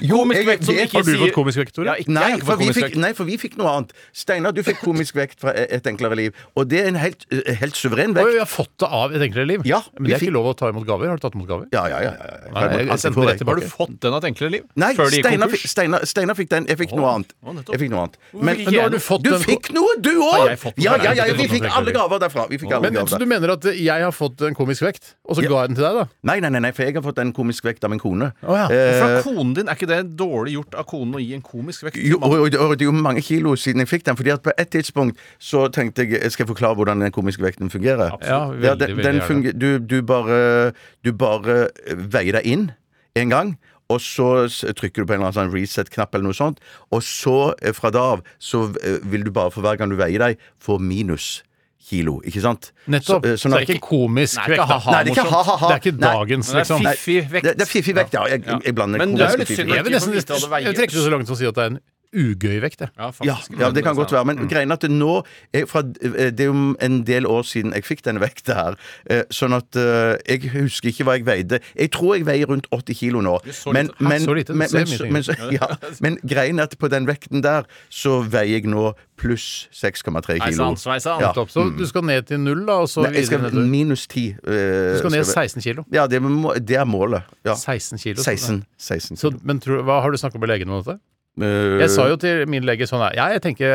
Jo,
Komisk
jeg
vekt som
vet-
ikke
Har du
sier-
fått komisk vekt, Tore?
Ja, ikke
Nei
jeg
for,
får
vi
komisk
fikk,
vekt.
nei, for vi fikk noe annet. Steinar, du fikk komisk vekt fra E- Et enklere liv. Og det er en helt, eh, helt suveren
Oi,
vekt.
jeg har fått det av et enklere liv.
Ja,
men
vi
det er
fikk-
ikke lov å ta imot gaver. Har du tatt imot gaver?
Ja, ja, ja. ja, ja.
Nei, jeg- jeg sendte det rett tilbake.
Har du fått den av et enklere liv?
Nei,
Før de gikk
Steinar fikk,
konkurs?
Steinar, Steinar fikk den. Jeg fikk
Å,
noe annet.
å, nettopp.
Jeg fikk noe annet.
Hvorfor fikk ikke
Men nå har
jeg
du fått
du
den
fikk noe, du òg!
Har jeg fått den?
Ja,
Nei,
ja, ja,
jeg har
vi
ikke
fått
fikk
den.
alle gaver derfra. Vi fikk alle
Men, så
gaver
du
der.
mener at jeg har fått en komisk vekt, og så
Ja.
ga jeg den til deg, da?
Nei, nei, nei, nei, for jeg har fått en komisk vekt av min kone.
Å, ja.
Eh,
Fra konen din, er ikke det dårlig gjort av konen å gi en komisk vekt? til
jo,
mannen?
og, og, og det er jo mange kilo siden jeg fikk den. Fordi at på et tidspunkt så tenkte jeg jeg skal forklare hvordan den komiske vekten fungerer.
Ja,
Ja,
veldig,
den,
veldig
den
gjerne.
funger, du, du, bare, du bare veier deg inn en gang, og så s- trykker du på en eller annen sånn reset-knapp eller noe sånt, og så eh, fra da av så eh, vil du bare for hver gang du veier deg, få minus kilo, ikke sant?
Nettopp.
eh,
Så, det er ikke komisk
Nei, det
vekt.
er ikke
da.
ha-ha
Nei, det er ikke morsomt. ha-ha-ha.
Det er ikke
Nei.
dagens,
Men det er
liksom.
Nei,
Fiffig vekt.
Det, det er fiffig vekt, ja. Jeg,
Ja.
jeg blander
Men det er jo
komisk
litt
og fiffig.
synd.
Jeg vil nesten
Ikke for å vite hva
jeg
det veier.
vil trekke det så langt som å si at det er en ugøy vekt. Jeg.
Ja,
Ja,
faktisk.
ja, det kan godt være.
Mm.
Men greien er at nå er fra, eh, Det er jo en del år siden jeg fikk denne vekta her. eh, Sånn at eh, jeg husker ikke hva jeg veide. Jeg tror jeg veier rundt 80 kilo nå.
er så
Men,
lite.
men,
Så lite, det
men,
ser
men,
mye
så-
tyngre
men, så- ja, men greien er at på den vekten der så veier jeg nå pluss 6,3
Nei,
kilo.
sant, sveisann.
Ja.
Nettopp. Så du skal ned til null, da, og så
Nei, jeg
videre
skal
nedover.
minus 10. eh,
Du skal ned
vi-
16 kilo.
Ja, det, er må- det er målet. Ja.
16 kilo.
16. 16
Så,
kilo. Eh,
men tror, hva har du snakket med legen om dette?
Øh.
Jeg sa jo til min lege sånn her Ja, jeg tenker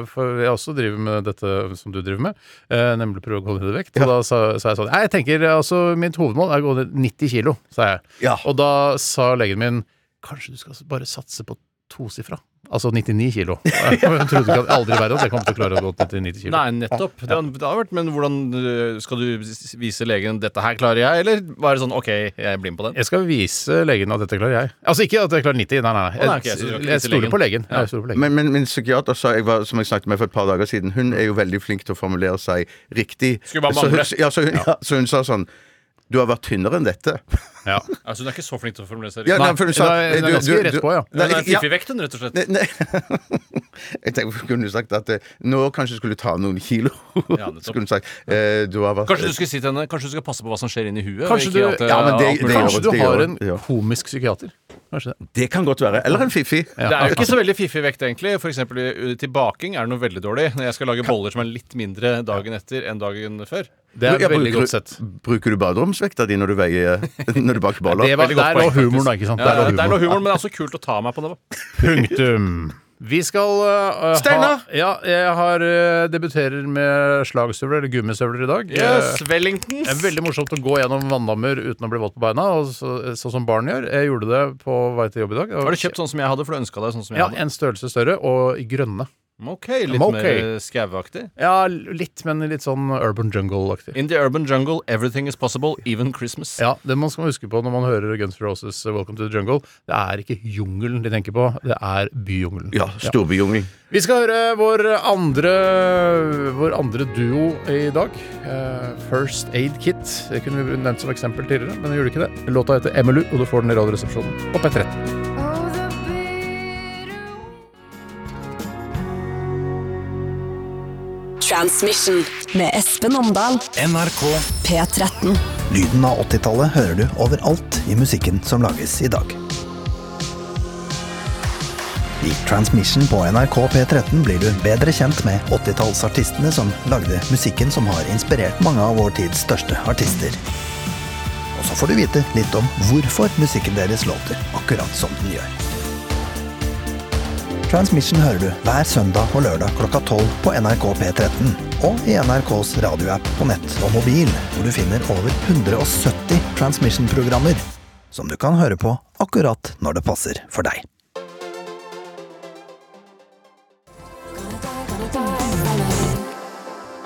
eh, For jeg også driver med dette som du driver med, eh, nemlig prøve å gå ned i vekt. Og da sa, sa jeg sånn Nei, jeg tenker eh, altså mitt hovedmål er å gå ned 90 kilo, sa jeg.
Ja.
Ah.
Og da sa legen min Kanskje du skal bare satse på tosifra? Altså 99 kilo. Jeg trodde ikke at aldri i verden at jeg kom til å klare å gå til 90 kilo.
Nei, nettopp. Det har, det har vært, men hvordan øh, skal du s- vise legen 'dette her klarer jeg', eller bare sånn 'OK, jeg blir med på den'?
Jeg skal vise legen at dette klarer jeg. Altså ikke at jeg klarer 90, nei, nei.
Å, nei,
nei.
ok, så
Jeg,
du har ikke
jeg
vist til
stoler på legen.
legen.
Jeg stoler på legen.
Men, men min psykiater sa, jeg var, som jeg snakket med for et par dager siden, hun er jo veldig flink til å formulere seg riktig.
Skulle bare
så, hun,
mangle.
ja, så, hun, ja, så hun sa såsånn Du har vært tynnere enn dette.
Ja.
Altså, Hun er ikke så flink til å formulere seg
Ja,
riktig.
nei, for hun sa
Nei, hun er
du-
ganske
du-
rett
du-
på, ja.
Hun er
Nei,
en
ja.
fiffig vekt, hun, rett og slett.
Nei, nei. Jeg tenkte hun kunne sagt at eh, nå kanskje skulle du ta noen kilo.
Ja, nettopp.
skulle hun sagt. Eh, du har vært
Kanskje du skulle si til henne Kanskje du skal passe på hva som skjer inni huet? og
Kanskje
ikke
du,
at det-
Ja, men det-
alt mulig
det gjør
annet.
kanskje du
det
har
gjør-
en
det gjør.
komisk psykiater. Kanskje det.
Det kan godt være. Eller en fiffig.
Det er jo ikke så veldig fiffig vekt, egentlig. For eksempel i- til baking er det noe veldig dårlig. Når jeg skal lage boller som er litt mindre dagen etter enn dagen før.
Det er
Ja,
veldig
bruker-
godt sett.
Bruker du baderomsvekta di når du veier Når du baker boller?
Det var,
Veldig godt
der lå
poeng,
humoren, da.
faktisk.
ikke sant?
Ja, der lå
humoren.
humoren, men det er også kult å ta meg på det. da.
Punktum. Vi skal øh,
Steinar!
ha Ja, jeg har, øh, debuterer med slagstøvler, eller gummistøvler, i dag.
Yes,
Eh,
Wellingtons!
det er veldig morsomt å gå gjennom vanndammer uten å bli våt på beina, og så, sånn som barn gjør. Jeg gjorde det på vei til jobb i dag.
Har du kjøpt sånn som jeg hadde, for du ønska deg sånn som jeg
Ja,
hadde?
en størrelse større, og i grønne.
Ok, litt
Ok.
mer eh, skauaktig.
Ja, litt, men litt sånn urban jungle-aktig.
In the urban jungle, everything is possible, even Christmas.
Ja, Det man skal huske på når man hører Guns N' Roses' Welcome to the Jungle, det er ikke jungelen de tenker på, det er byjungelen.
Ja, storbyjungel.
Vi skal høre vår andre, vår andre duo i dag. Eh, First Aid Kit. Det kunne vi nevnt som eksempel tidligere, men vi gjorde ikke det. Låta heter Emmelu, og du får den i Radioresepsjonen på P13.
Transmission med Espen Omdal.
NRK.
P13.
Lyden av 80-tallet hører du overalt i musikken som lages i dag. I I Transmission på NRK P13 blir du bedre kjent med 80-tallsartistene som lagde musikken som har inspirert mange av vår tids største artister. Og så får du vite litt om hvorfor musikken deres låter akkurat som den gjør. Transmission hører du hver søndag og lørdag klokka 12 på NRK P13 og i NRKs radioapp på nett og mobil, hvor du finner over 170 Transmission-programmer som du kan høre på akkurat når det passer for deg.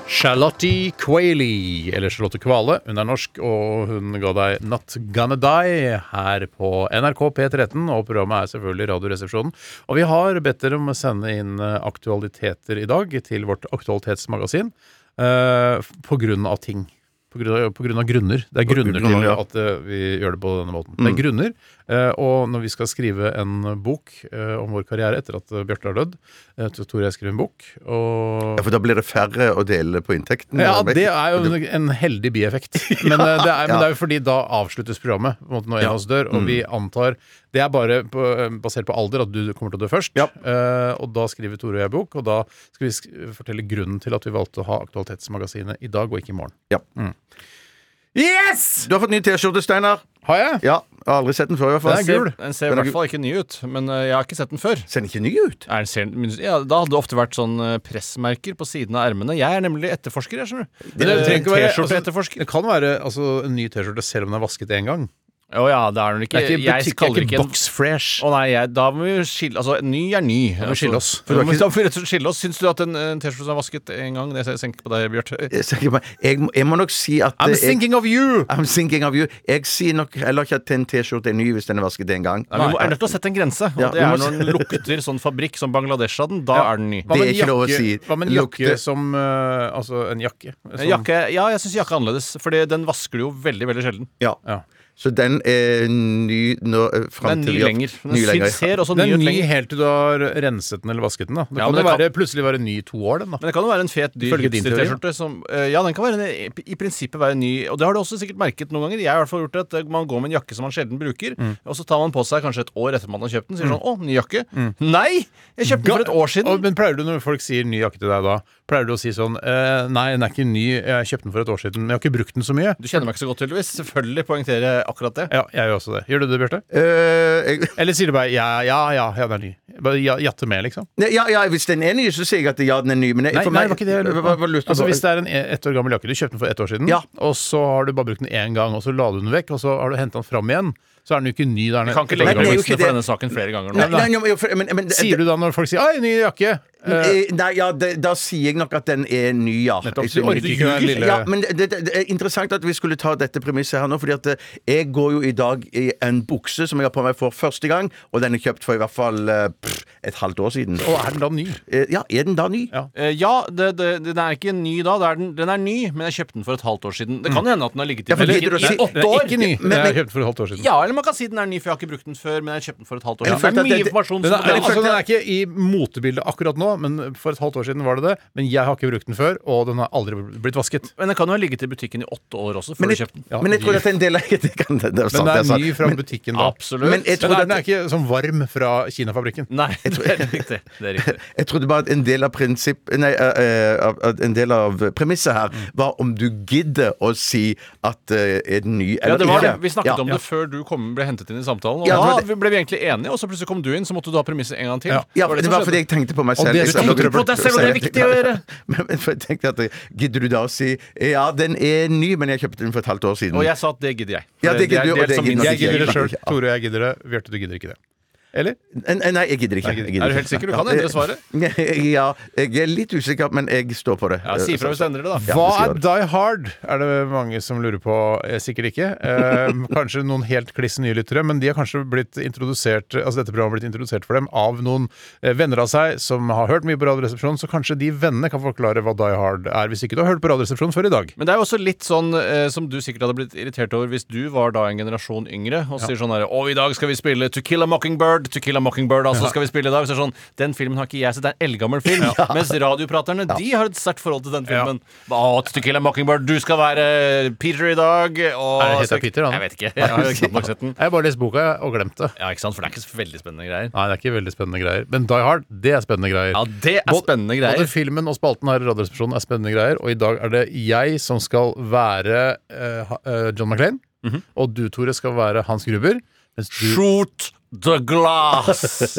Charlotte Qualey, eller Charlotte Kvale. Hun er norsk, og hun ga deg 'Not Gonna Die' her på NRK P13. Og programmet er selvfølgelig Radioresepsjonen. Og vi har bedt dere om å sende inn eh, aktualiteter i dag til vårt aktualitetsmagasin eh, på grunn av ting. På grunn av, på grunn av grunner. Det er grunner
grunn av-
til
ja. Mm.
at eh, vi gjør det på denne måten. Det er grunner. eh, Og når vi skal skrive en bok eh, om vår karriere etter at eh, Bjarte har dødd eh, Tore og jeg skriver en bok. Og
Ja, for da blir det færre å dele på inntekten.
ja,
eller?
det er jo en, en heldig bieffekt. Men, eh, det er, men
Ja.
det er jo fordi da avsluttes programmet på en måte, når en av oss dør, og vi antar Det er bare på, eh, basert på alder at du kommer til å dø først. Eh, og da skriver Tore og jeg bok, og da skal vi sk fortelle grunnen til at vi valgte å ha Aktualitetsmagasinet i dag og ikke i morgen.
Ja.
Yes!
Du har fått ny T-skjorte, Steinar.
Har jeg?
Ja, jeg har aldri sett den før, i hvert fall.
Den er gul.
Den ser i
Den er
hvert fall ikke ny ut, men eh, jeg har ikke sett den før.
Ser den ikke ny ut?
Er den ser, men- ja, da hadde det ofte vært sånn eh, pressmerker på siden av ermene. Jeg er nemlig etterforsker, jeg, skjønner du.
Det, trenger ikke være- altså,
T-skjorte-etterforsker.
det kan være altså, en ny T-skjorte selv om den er vasket én gang.
Å ja, det er den
Det
ikke.
er ikke,
Jeg
butikk, det
kaller
er
ikke
ikke
en
box fresh.
Å nei, jeg, da må vi skille Altså, ny er ny.
må vi skille
Altså,
oss.
for
Du er
Da må vi
ikke-
da må vi rett og slett skille oss. Syns du at en, en T-skjorte som er vasket en gang Det senker på deg, Bjarte.
Jeg, ser ikke på- jeg, må- jeg må nok si at
I'm
eh, jeg,
thinking of you!
I'm thinking of you. Jeg sier nok heller ikke at en T-skjorte er ny hvis den er vasket en gang.
Nei, vi må- er nødt til å sette en grense. Og
Ja,
det
vi
er
må
når
se-
den lukter sånn fabrikk som Bangladesh av den. Da er den ny.
Hva
Det
med
er
en
ikke lov å
jakke-
si.
Hva med en jakke
Lukte-
som eh, Altså en jakke.
sånn.
Som,
Jakke, ja, jeg syns jakke er annerledes, for den vasker du jo veldig veldig sjelden.
Ja.
Ja.
Så den er ny nå, eh, fram
Den er ny
til vi har-
lenger. Den
Ny
sy-
lenger.
ser også
Den
ny
er
ut
ny
lenger.
helt til du har renset den eller vasket den. da Det
Ja,
kan
men
jo
det kan-
være, plutselig være ny i to år, den. da
Men det kan jo være en fet, dyr
Ifølge din teori,
hipster-T-skjorte. som, eh, Ja, den kan være en, i prinsippet være ny. Og det har du også sikkert merket noen ganger. Jeg har i hvert fall gjort det at eh, man går med en jakke som man sjelden bruker,
Mm.
og så tar man på seg kanskje et år etter man har kjøpt den, sier sånn 'Å, ny jakke'.
Mm.
Nei! Jeg kjøpte den for et år
Og,
siden.
men pleier du når folk sier ny jakke til deg da, pleier du å si sånn eh, Nei, den er ikke ny, jeg kjøpte den for et år siden, men jeg har ikke brukt den så mye.
Du kjenner meg ikke så godt, tydeligvis. Selvfølgelig poengterer jeg akkurat det.
Ja, jeg gjør også det. Gjør du det, Bjarte?
Eh, jeg-
Eller sier du bare ja, ja, ja, ja den er ny? Bare ja, jatte med, liksom?
Nei, ja, ja, hvis den er ny, så sier jeg at ja, den er ny. Men jeg,
Nei,
for
nei,
meg-
det var ikke det jeg lurte
Hva- hva- hva
på.
lurte du
Altså,
på?
hvis det er en e- ett år gammel jakke, du kjøpte den for ett år siden,
Ja.
og så har du bare brukt den én gang, og så la du den vekk, og så har du henta den fram igjen, så er den jo ikke ny. Da er
Vi
den
kan ikke
ett år
Nei,
legge
det er
gammel.
jo
premissene
ikke
for
det.
denne saken flere ganger nå.
Nei, nei, nei, for- men, men,
Sier du da når folk sier 'ai, ny jakke'? Eh,
Eh, Nei, ja, det, da sier jeg nok at den er ny, ja.
Nettopp,
Jeg
så du
synes-
orker ikke den lille-
Ja, men det, det, det er interessant at vi skulle ta dette premisset her nå, fordi at eh, jeg går jo i dag i en bukse som jeg har på meg for første gang, og den er kjøpt for i hvert fall eh, pff, et halvt år siden.
og er den da ny?
Eh, Ja, er den da ny?
Ja.
Eh, ja, det, det, den er ikke ny da. Det er den, den er ny, men jeg kjøpte den for et halvt år siden. Det kan hende at den har ligget i
Mm. Ja, for
butikken
gidder du å si-
i åtte
Den er
år.
ikke ny.
men-
Den er
men-
kjøpt for et halvt år siden.
Ja, eller man kan si den er ny, for jeg har ikke brukt den før. Men jeg kjøpte den for et halvt år
Jeg
siden. Det er
følte at
mye
det- liksom-
informasjon
Den
som
er,
forteller
altså,
oss.
den er ikke i motebildet akkurat nå, men for et halvt år siden var det det. Men jeg har ikke brukt den før, og den har aldri blitt vasket.
Men den kan jo ha ligget i butikken i åtte år også, før
Men
du
jeg,
kjøpte den.
Ja,
men jeg tror
ny.
at en del av det kan det, det er
Men
sant. det
den
er
er
sant.
ny fra butikken da.
Absolutt.
Men
Men
jeg trodde
er den er
at,
ikke sånn varm fra Kina-fabrikken.
Nei, det er riktig. Det er riktig.
jeg trodde bare at en del av prinsipp Nei, eh, eh, av- at en del av premisset her var om du gidder å si at eh, er den ny
Ja,
eller
det var det.
ikke.
Vi snakket
Ja.
om det før du kom, ble hentet inn i samtalen. Og
Ja, det var
da ble vi egentlig enige, og så plutselig kom du inn, så måtte du ha premisset en gang til.
Ja.
Ja,
det
det
som
var fordi
skjedde.
jeg tenkte på meg
Og
selv.
det-
Jeg
du
sa-
tenkte på
deg selv, og det er viktig å gjøre.
Men, men for jeg tenkte at Gidder du da å si Ja, den er ny, men jeg kjøpte den for et halvt år siden.
Og jeg sa at det gidder jeg. For
Ja, det gidder du,
er
og det
som
gidder
min-
nok
Jeg
ikke
gidder det
jeg.
sjøl. Tore og jeg gidder det. Bjarte, du gidder ikke det. Eller?
Nei, Nei, jeg gidder ikke. Jeg gidder
Er du
ikke.
helt sikker? Du kan endre svaret.
Ja, jeg er litt usikker, men jeg står på det.
Ja, Si ifra hvis du endrer det, da.
Ja,
Hva
det skal
er
jeg
Ah, Die Hard? Er det mange som lurer på. Eh, Sikkert ikke. Eh, kanskje noen helt kliss nye lyttere, men de har kanskje blitt introdusert Altså dette programmet har blitt introdusert for dem av noen eh, venner av seg som har hørt mye på Radioresepsjonen, så kanskje de vennene kan forklare hva Die Hard er, hvis ikke du har hørt på Radioresepsjonen før i dag.
Men det er jo også litt sånn eh, som du sikkert hadde blitt irritert over hvis du var da en generasjon yngre og sier sånn herre Og i dag skal vi spille To Kill a Mockingbird Mockingbird, To Kill a Mockingbird, altså skal vi spille i dag. Så er det sånn, Den filmen har ikke jeg sett, det er en eldgammel film. Mens radiopraterne de har et sterkt forhold til den filmen. Å, To Kill a Mockingbird, du skal være eh, Peter i dag. Og,
Er det heter Peter, han?
Jeg vet ikke. Jeg har knapt nok sett den.
Jeg har bare lest boka og glemt det.
Ja, ikke sant? For det er ikke så veldig spennende greier.
Nei, det er ikke veldig spennende greier. Men Die Hard, det er spennende greier.
Ja, det er
Både-
spennende greier.
Både filmen og spalten her i Radioresepsjonen er spennende greier, og i dag er det jeg som skal være eh, ha- eh, John McClain,
Mhm.
og du, Tore, skal være Hans Gruber. Mens du,
Shoot the glass!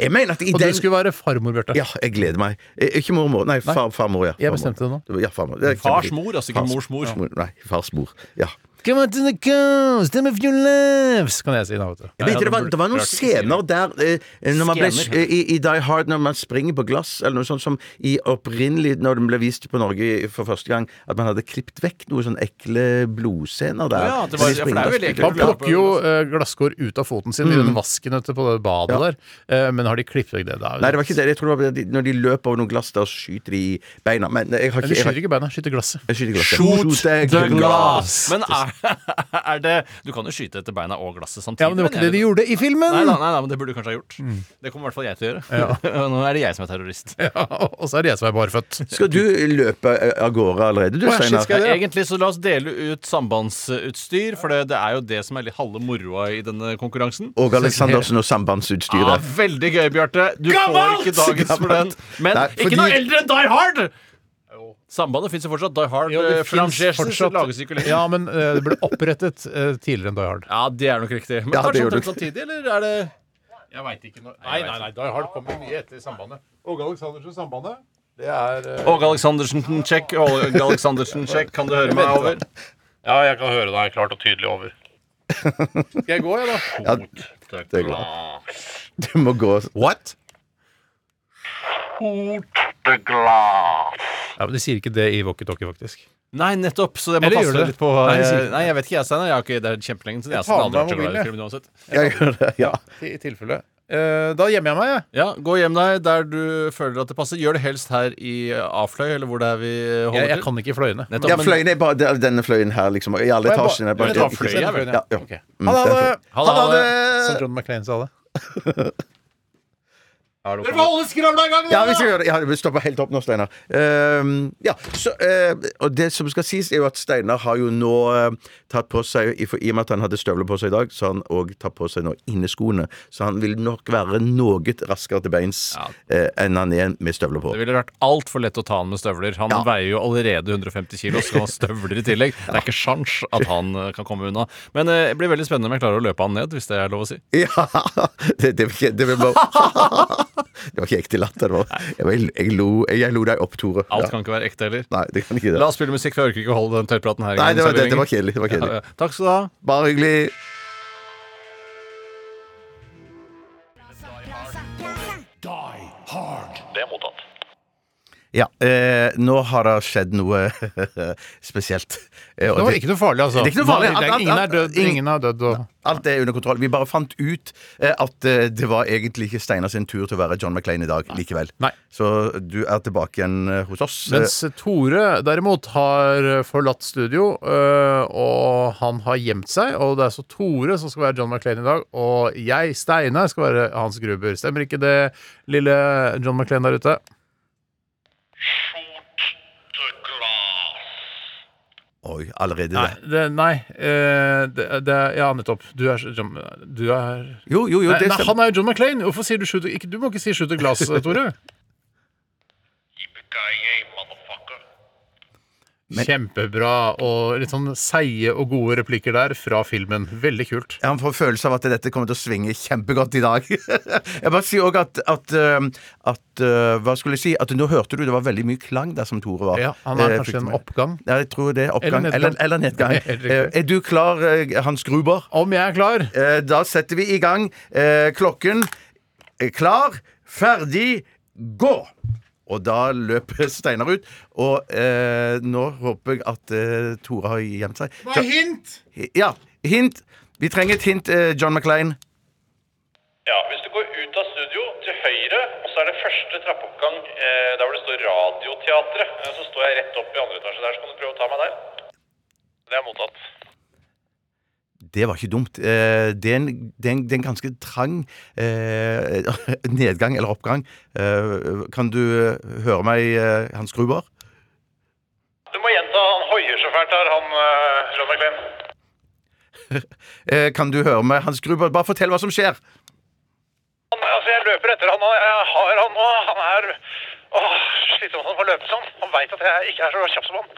Jeg mener at i
og du
den
skulle være farmor, Bjarte.
Ja, jeg gleder meg. Eh, Ikke mormor, nei, far, farmor. ja
Jeg
Farmor.
bestemte det nå.
Ja, farmor. Det er
Fars
kjempefint.
mor, altså ikke
Fars-
mors mor.
mor. Nei, fars mor. Ja.
Come on to the coast, them of your lives, kan jeg si nå, vet du.
Men det, var, det var noen
Rart ikke
scener der eh, når man ble,
Scener.
eh, i, i Die Hard når man springer på glass, eller noe sånt som i opprinnelig, når den ble vist på Norge for første gang, at man hadde klippet vekk noen sånne ekle blodscener der.
Ja, det var-
Men
ja, for det er
de
jo
springer-
veldig ekkelt.
Man plukker jo eh, glasskår ut av foten sin i den vasken ute på det badet der, Eh, men har de klippet vekk det? da?
Nei, det var ikke det. Jeg tror det var de- når de løper over noen glass, da skyter de i beina. Men jeg har
Nei, de
ikke jeg har-
skyter ikke beina, skyter glasset.
jeg skyter i glasset.
Men er, er det Du kan jo skyte etter beina og glasset samtidig.
Ja, men det var ikke det de
jeg-
gjorde i filmen!
Nei, da, nei, nei, men det burde du kanskje ha gjort. Det kommer i hvert fall jeg til å gjøre. Nå er det jeg som er terrorist.
Ja, og så er det jeg som er barføtt.
Skal du løpe eh, av gårde allerede, du,
Å, ja, shit,
Steinar?
skal jeg det, ja?
Egentlig så la oss dele ut sambandsutstyr, for det, det er jo det som er litt halve moroa i denne konkurransen.
Og Aleksandersen og sambandsutstyret.
Ah, veldig gøy, Bjarte. Du får ikke dagens for den. Men
Nei, fordi-
ikke noe eldre enn Die Hard! Sambandet fins jo fortsatt. Die Hard
Jo,
eh,
det finnes
franchises
fortsatt.
lages ikke lenger.
Ja, men eh, det ble opprettet eh, tidligere enn Die Hard.
Ja, det er nok riktig. Men
Ja, det
kanskje
gjorde
omtrent samtidig, eller er det
Jeg veit ikke når Nei, nei, nei, Die Hard kommer mye etter Sambandet. Åge Aleksandersen Sambandet, det er eh,
Åge Aleksandersen, sjekk. Åge Aleksandersen, sjekk. Kan du høre meg over?
Ja, jeg kan høre deg klart og tydelig over. Skal jeg gå, jeg, da?
Det går. Du må gå
What? Ja, men De sier ikke det i walkietalkie, faktisk.
Nei, nettopp. Så det må
Eller
passe
gjør det?
litt på
Nei,
Nei,
det sier ikke.
jeg vet ikke, jeg, Steinar. Jeg har ikke- Det er kjempelenge siden. Jeg,
tar
har
med
aldri vært så glad i
mobilen, jeg.
film uansett.
Jeg gjør det, ja.
I, i tilfelle. Eh, da gjemmer jeg meg, jeg.
Ja, Gå hjem deg der du føler at det passer. Gjør det helst her i A-fløy, eller hvor det er vi holder
Jeg,
til.
jeg kan ikke fløyene.
Nettopp,
Ja,
men-
fløyen er bare det er denne fløyen her, liksom. I alle
Jeg bare-
etasjene.
jeg tar fløyen, jeg, vel.
Ja, ja.
Ok.
Mm,
Ha det, ha
det er
det!
Ha det, ha det!
Som John McClain sa det.
Dere får holde skravla i gang!
Ja, vi skal gjøre det. Ja, vi stopper helt opp nå, Steinar. Ehm, ja, så, eh, og det som skal sies, er jo at Steinar har jo nå eh, tatt på seg i, for, I og med at han hadde støvler på seg i dag, så har han òg tatt på seg nå inneskoene. Så han vil nok være noe raskere til beins
Ja.
eh, enn han er med støvler på.
Det ville vært altfor lett å ta han med støvler. Han veier jo allerede 150 kilo, så skal han ha støvler i tillegg. Det er ikke sjans at han eh, kan komme unna. Men eh, det blir veldig spennende om jeg klarer å løpe han ned, hvis det er lov å si.
Ja! Det, det, var ikke- det, var bare, det var ikke ekte latter. Det var. Jeg, var- jeg, lo, jeg lo deg opp, Tore.
Alt
Ja.
kan ikke være ekte heller.
Nei, det kan ikke det.
La oss spille musikk, for jeg orker ikke å holde den tørrpraten her. i
Nei,
gang,
det var, det,
serveringen.
det var kjedelig. Det var kjedelig.
Ja, ja. Takk skal du ha.
Bare hyggelig. Ja, eh, nå har det skjedd noe spesielt. Eh, og
Det var ikke noe farlig, altså.
Det er ikke noe farlig.
Det er- Ingen er dødd,
Ingen-
ingen er dødd og
Alt er under kontroll. Vi bare fant ut eh, at eh, det var egentlig ikke Steinar sin tur til å være John McClain i dag likevel.
Nei.
Så du er tilbake igjen eh, hos oss.
Mens Tore derimot har eh, forlatt studio, øh, og han har gjemt seg. Og det er så Tore som skal være John McClain i dag, og jeg, Steinar, skal være Hans Gruber. Stemmer ikke det, lille John McClain der ute?
Eh, Oi, allerede
Nei.
det.
Det, nei øh, det, det, ja, nettopp. Du er John Du er
Jo, jo, jo.
Eh, Nei,
det
nei,
stemmer.
han er jo John McClain! Hvorfor sier du shooter ikke, Du må ikke si shooter glass, Tore. Kjempebra. Og litt sånn seige og gode replikker der fra filmen. Veldig kult.
Ja, Han får følelse av at dette kommer til å svinge kjempegodt i dag. jeg bare sier òg at, at, øhm, at øh, Hva skulle jeg si? At nå hørte du det var veldig mye klang der som Tore var.
Ja, han er
Eh,
kanskje
fikk
en
med.
oppgang.
Ja, jeg tror det er oppgang.
Eller nedgang.
Eller, eller nedgang.
Helt riktig.
Eh, er du klar, eh, Hans Gruber?
Om jeg er klar?
Eh, da setter vi i gang. Eh, klokken er klar, ferdig, gå! Og da løper Steinar ut. Og eh, nå håper jeg at eh, Tore har gjemt seg. Hva er hint? Ja, hint. Vi trenger et hint, eh, John McClain.
Ja, hvis du går ut av studio til høyre, og så er det første trappeoppgang eh, der hvor det står Radioteatret, eh, så står jeg rett opp i andre etasje der, så kan du prøve å ta meg der. Det er mottatt.
Det var ikke dumt. Eh, Det er en, det er en, det er en ganske trang eh, nedgang eller oppgang. Eh, Kan du høre meg, eh, Hans Gruber?
Du må gjenta, han hoier så fælt her, han eh, John McLean.
Eh, Kan du høre meg, Hans Gruber? Bare fortell hva som skjer.
Han, altså, jeg løper etter han, og jeg har han nå. Han er åh, slitsom at han får løpe sånn. Han veit at jeg ikke er så kjapp som han.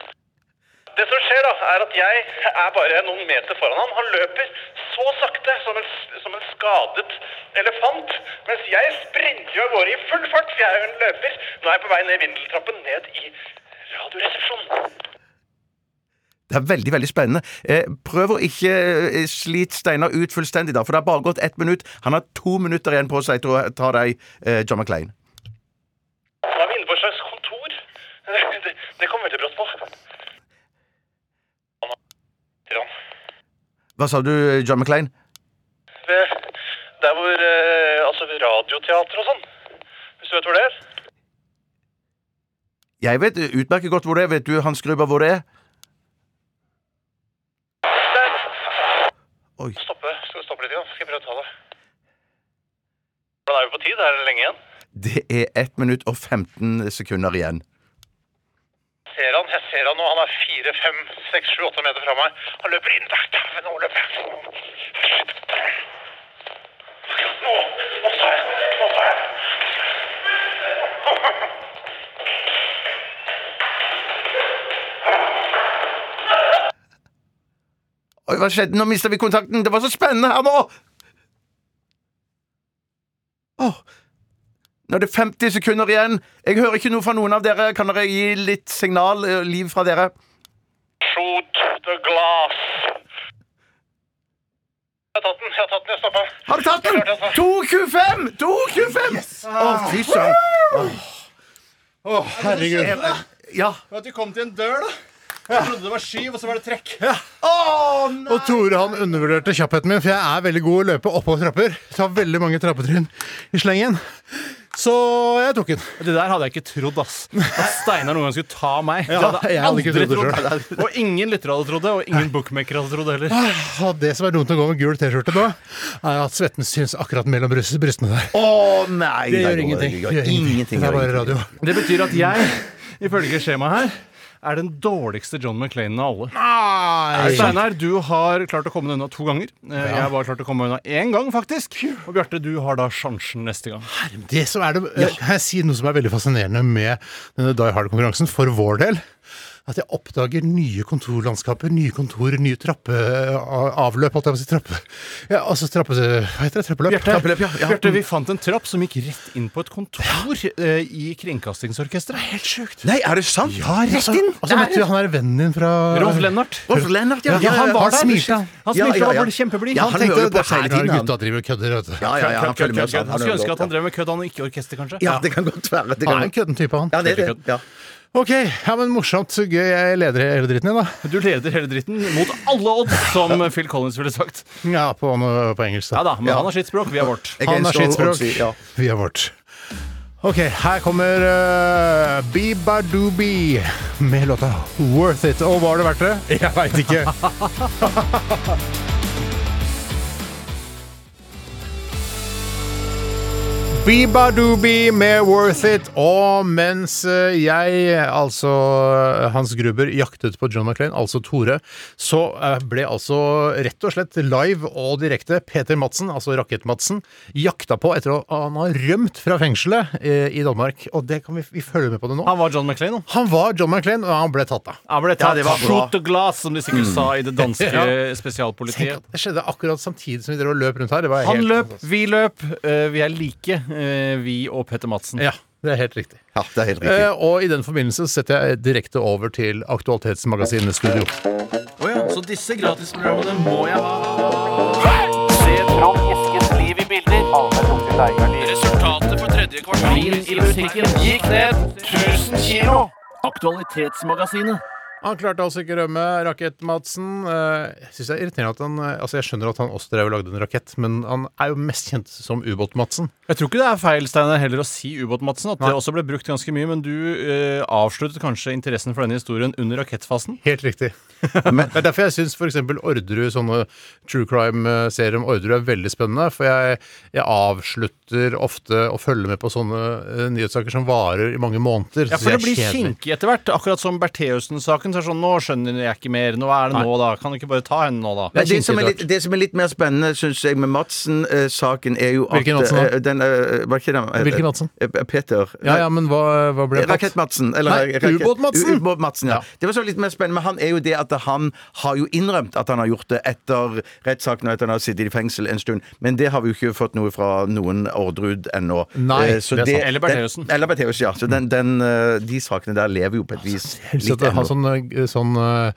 Det som skjer, da, er at jeg er bare noen meter foran han. Han løper så sakte som en, som en skadet elefant, mens jeg sprinter jo av gårde i full fart, for jeg er jo en løper. Nå er jeg på vei ned vindeltrappen, ned i radioresepsjonen.
Det er veldig veldig spennende. Eh, Prøv å ikke eh, slite Steinar ut fullstendig, da, for det har bare gått ett minutt. Han har to minutter igjen på seg til å ta deg, eh, John McLean.
Nå er vi inne på et slags kontor. Det, det kom veldig brått på. Han har- sier han.
Hva sa du, eh, John McLean?
ved der hvor eh, altså ved radioteater og sånn. Hvis du vet hvor det er?
Jeg vet utmerket godt hvor det er. Vet du, Hans Gruber, hvor det er?
Der.
Oi.
Stoppe. Skal vi stoppe litt igjen? Skal jeg prøve å ta det. Hvordan er vi på tid? Er det lenge igjen?
Det er 1 minutt og 15 sekunder igjen.
Ser han? Jeg ser han nå. Han er fire, fem, seks, sju, åtte meter fra meg. Han løper inn. Der, der, nå løper jeg. Nå, nå tar jeg. Nå tar jeg.
Oi, hva skjedde? Nå mista vi kontakten! Det var så spennende her nå! Åh. Nå er det 50 sekunder igjen. Jeg hører ikke noe fra noen av dere. Kan dere gi litt signal, eh, liv fra dere?
Shoot the glass. Jeg har tatt den. Jeg har tatt den. Jeg stoppa.
Har du tatt den? 2.25! 2.25! Å, fy søren.
Herregud.
Ja.
At vi kom til en dør, da. Jeg trodde det var skyv, og så var det trekk.
Og Tore han undervurderte kjappheten min, for jeg er veldig god å løpe oppover trapper. Tar veldig mange trappetrinn i slengen. Så jeg tok den.
Det der hadde jeg ikke trodd, ass. At Steinar noen gang skulle ta meg.
Ja, jeg hadde ikke trodd det
Og ingen lyttere hadde trodd det, og ingen bookmakere hadde trodd det heller.
Ah, Og det som er dumt å gå med gul T-skjorte nå, er at svetten syns akkurat mellom brys- brystene der.
Å, nei.
Det
nei,
gjør ingenting.
Det gjør ingenting.
Det er bare radio.
Det betyr at jeg, ifølge skjemaet her, er den dårligste John McClainen av alle. Eh, Steinar, du har klart å komme deg unna to ganger. Eh, Jeg har bare klart å komme meg unna én gang, faktisk. Og Bjarte, du har da sjansen neste gang.
Det som er det, jeg, jeg sier noe som er veldig fascinerende med denne Die Hard-konkurransen, for vår del. At jeg oppdager nye kontorlandskaper, nye kontor, nye trappeavløp. Holdt jeg på å si trappe... Ja, altså trappe... Hva heter det? Trappeløp?
Bjarte,
Trappeløp, ja. ja.
Bjarte, vi fant en trapp som gikk rett inn på et kontor eh, i Kringkastingsorkesteret. Helt sjukt.
Nei, er det sant?
Ja, rett inn! Og så møtte vi han der vennen din fra
Rolf Lennart.
Rolf Lennart, ja.
Ja, han var der.
smilte. Han smilte, han var kjempeblid.
Ja,
Han
han
tenkte
hører jo på
det
oss hele
her er
tiden. han.
gutta driver og kødder, vet du.
Ja, ja, ja, han følger med oss.
Han skulle ønske at han
han
drev med kødd, han, og ikke orkester, kanskje.
Ja, det kan godt være. Det kan
Han er en kødden type, han.
Ja, det er det. Ja.
Ok, ja, men morsomt. Så gøy. Jeg leder hele dritten i, da.
Du leder hele dritten mot alle odds, som Phil Collins ville sagt.
Ja, på, på engelsk,
Ja
da.
da, men han har sitt språk, vi har vårt.
Jeg
Han har
elsker
sitt
å- å
språk.
si- ja.
Vi er vårt. Ok, her kommer uh, Biba Doobie med låta Worth It. Og var det verdt det? Jeg veit ikke. Biba Doobie med Worth It. Og mens eh, jeg, altså eh, Hans Gruber, jaktet på John McClain, altså Tore, så eh, ble altså rett og slett live og direkte Peter Madsen, altså Rakett-Madsen, jakta på etter at han har rømt fra fengselet eh, i Danmark. Og det kan vi, vi følge med på det nå.
Han var John McClain, han.
Han var John McClain, og han ble tatt, da.
Han ble tatt
det var bra.
shoot the glass, som de sikkert sa i det danske
Tenk
spesialpolitiet.
at det skjedde akkurat samtidig som vi drev og løp rundt her. Det var
Han
helt
løp, vi løp. eh, Vi er like, eh, vi og Petter Madsen.
Ja, det er helt riktig.
ja, det er helt riktig.
Eh, og i den forbindelse setter jeg direkte over til Aktualitetsmagasinet Studio.
Så disse gratisprogrammene må jeg ha.
Resultatet for tredje kvartal i butikken gikk ned 1000 kilo. Aktualitetsmagasinet
Han klarte altså ikke å rømme. Rakett-Madsen eh, synes jeg er irriterende at han eh, Altså, jeg skjønner at han også drev og lagde en rakett, men han er jo mest kjent som Ubåt-Madsen.
Jeg tror ikke det er feil Steiner, heller å si ubåt-Madsen. At det også ble brukt ganske mye. Men du eh, avsluttet kanskje interessen for denne historien under rakettfasen?
Helt riktig. det er derfor jeg syns f.eks. Orderud, sånne true crime-serier om Orderud, er veldig spennende. For jeg, jeg avslutter ofte å følge med på sånne eh, nyhetssaker som varer i mange måneder.
Ja,
så
for det
jeg
blir
er kjedelig.
kinkig etter hvert. Akkurat som Bertheussen-saken. Så er det sånn, nå skjønner jeg ikke mer. Nå er det nå, da. Kan du ikke bare ta henne nå, da?
Nei, det, som er litt, det som er litt mer spennende, syns jeg, med Madsen-saken, er jo at
Hvilken Madsen da?
eh, Den, eh, var ikke den eh,
Hvilken Madsen?
eh, Peter.
Ja, ja, men hva, hva ble det?
Eh, Rakett-Madsen. eller
Nei,
rakett-
Ubåt-Madsen.
Ubåt-Madsen, ja. Det var så litt mer spennende, men han er jo det at han har jo innrømt at han har gjort det etter rettssaken og etter han har sittet i fengsel en stund, men det har vi jo ikke fått noe fra noen Orderud ennå.
Nei,
Eh, så
det er sant.
Eller Bertheussen.
den- Eller Bertheussen, ja. Så den, den, eh, de sakene der lever jo på et vis
Så
litt
at ha
ennå.
sånn, eh, sånn, eh,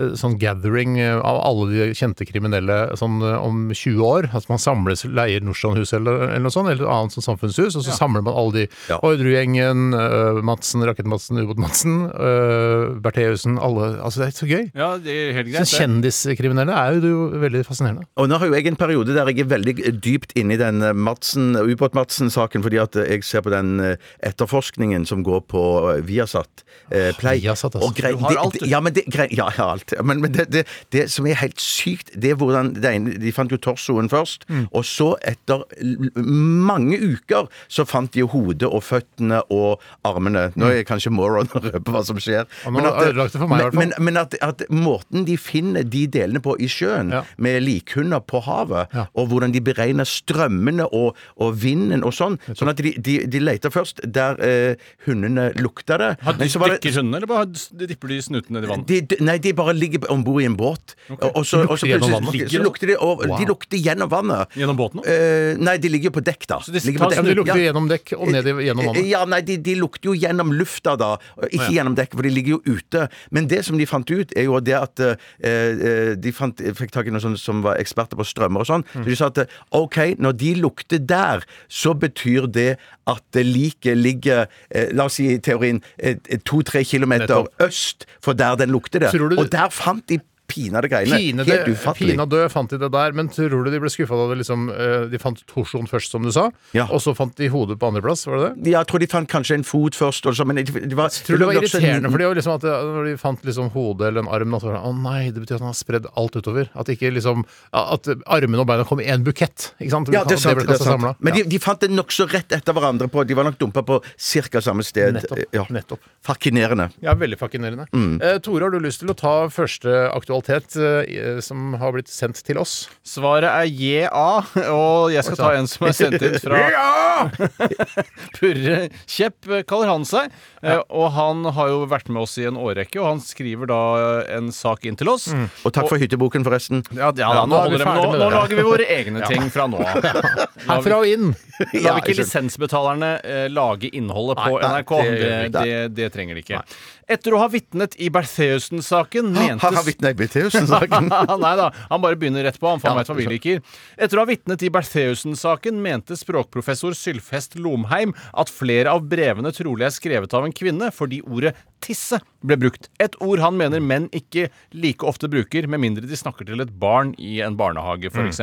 sånn gathering eh, av alle de kjente kriminelle sånn eh, om 20 år. At man samles, leier Nordstrandhuset eller, eller noe sånt, eller et annet sånn samfunnshus, og så samler man alle de.
Ja.
Ordrud-gjengen, eh, Madsen, Rakett-Madsen, Ubåt-Madsen, eh, Bertheussen, alle Altså, det er så gøy.
Ja, det er helt
Så
greit. det.
kjendiskriminelle er jo det jo veldig fascinerende.
Og nå har jo jeg en periode der jeg er veldig dypt inne i den eh, Madsen, Ubåt-Madsen-saken, fordi at jeg ser på den eh, etterforskningen som går på eh, Viasat eh, Play.
Viasat, altså.
Og grei-
Du har
det-
alt,
det-
du.
Ja, men det, grei- ja, jeg har alt. Men, men det, det, det som er helt sykt, det er hvordan det ene, De fant jo torsoen først,
Mm.
og så, etter l- mange uker, så fant de jo hodet og føttene og armene. Nå er jeg kanskje moron og røper hva som skjer.
Og nå har du ødelagt det for meg, i hvert fall.
men, men, men at, at måten de finner de delene på i sjøen,
Ja.
med likhunder på havet,
Ja.
og hvordan de beregner strømmene og, og vinden og sånn Sånn at de, de, de leter først der eh, hundene lukta det.
Har
men
de
så var det-
dykker hundene, eller bare har- dipper de snuten ned i vannet?
de, de, nei, de bare ligger om bord i en båt. Og, og så,
De lukter
og så
gjennom
plutselig-
vannet?
så lukter de, og,
Wow.
de lukter gjennom vannet.
Gjennom båten?
Eh, nei, de ligger jo på dekk, da.
de tar
Ligger på
Ja,
dekk.
men de lukter jo
Ja.
gjennom dekk og ned i, gjennom vannet.
Ja, nei, de, de lukter jo gjennom lufta da, og ikke gjennom dekket, for de ligger jo ute. Men det som de fant ut, er jo det at eh, eh, de fant, fikk tak i noen sånne som var eksperter på strømmer og sånn. Så de sa at eh, OK, når de lukter der, så betyr det at det liket ligger, eh, la oss si i teorien, eh, to-tre kilometer
Nettopp.
øst for der den lukter det.
Tror du det-
Og der fant de pinadø greiene. Helt
Pinadø
ufattelig.
pinadø fant de det der, men tror du de ble skuffa da de liksom eh, De fant torsoen først, som du sa,
Ja.
og så fant de hodet på andreplass, var det det?
Ja, jeg tror de fant kanskje en fot først, og så, men det det var,
Tror du det var
lå også en-
irriterende for de var liksom at det, når de fant liksom hodet eller en arm, at det var sånn, å nei, det betyr at han har spredd alt utover. At ikke liksom At armene og beina kom i en bukett. Ikke sant?
Ja, det er sant.
ble
Det er
kastet
sant.
samlet.
Men
Ja.
de, de fant det nokså rett etter hverandre. på De var nok dumpa på ca. samme sted.
Nettopp,
eh, Ja. Mm.
nettopp.
Fakinerende.
Ja, veldig fascinerende. Eh, Tore, har du lyst til å ta første aktualitet eh, som har blitt sendt til oss?
Svaret er ja, og jeg skal ta en som er sendt inn fra Purre Kjepp eh, kaller han seg. Eh, Og han har jo vært med oss i en årrekke, og han skriver da eh, en sak inn til oss.
Og takk for hytteboken, forresten.
Mm. Ja,
Ja,
ja, da,
nå
nå,
er vi
holder det, men
ferdig
nå,
med
nå
det, ja.
lager vi våre egne ting fra nå av.
Herfra og inn!
La vi ikke
jeg skjønner.
lisensbetalerne eh, lage innholdet på
Nei, nei,
NRK.
det
Det,
gjør vi ikke.
det, det trenger de ikke. Etter å ha vitnet i Bertheussen-saken
Har han
mente
vitna i Betheussen-saken?
Nei da, han bare begynner rett på. Han faen
Ja,
vet hva vi liker. Etter å ha vitnet i Bertheussen-saken mente språkprofessor Sylfest Lomheim at flere av brevene trolig er skrevet av en kvinne fordi ordet tisse ble brukt. Et ord han mener menn ikke like ofte bruker, med mindre de snakker til et barn i en barnehage, f.eks.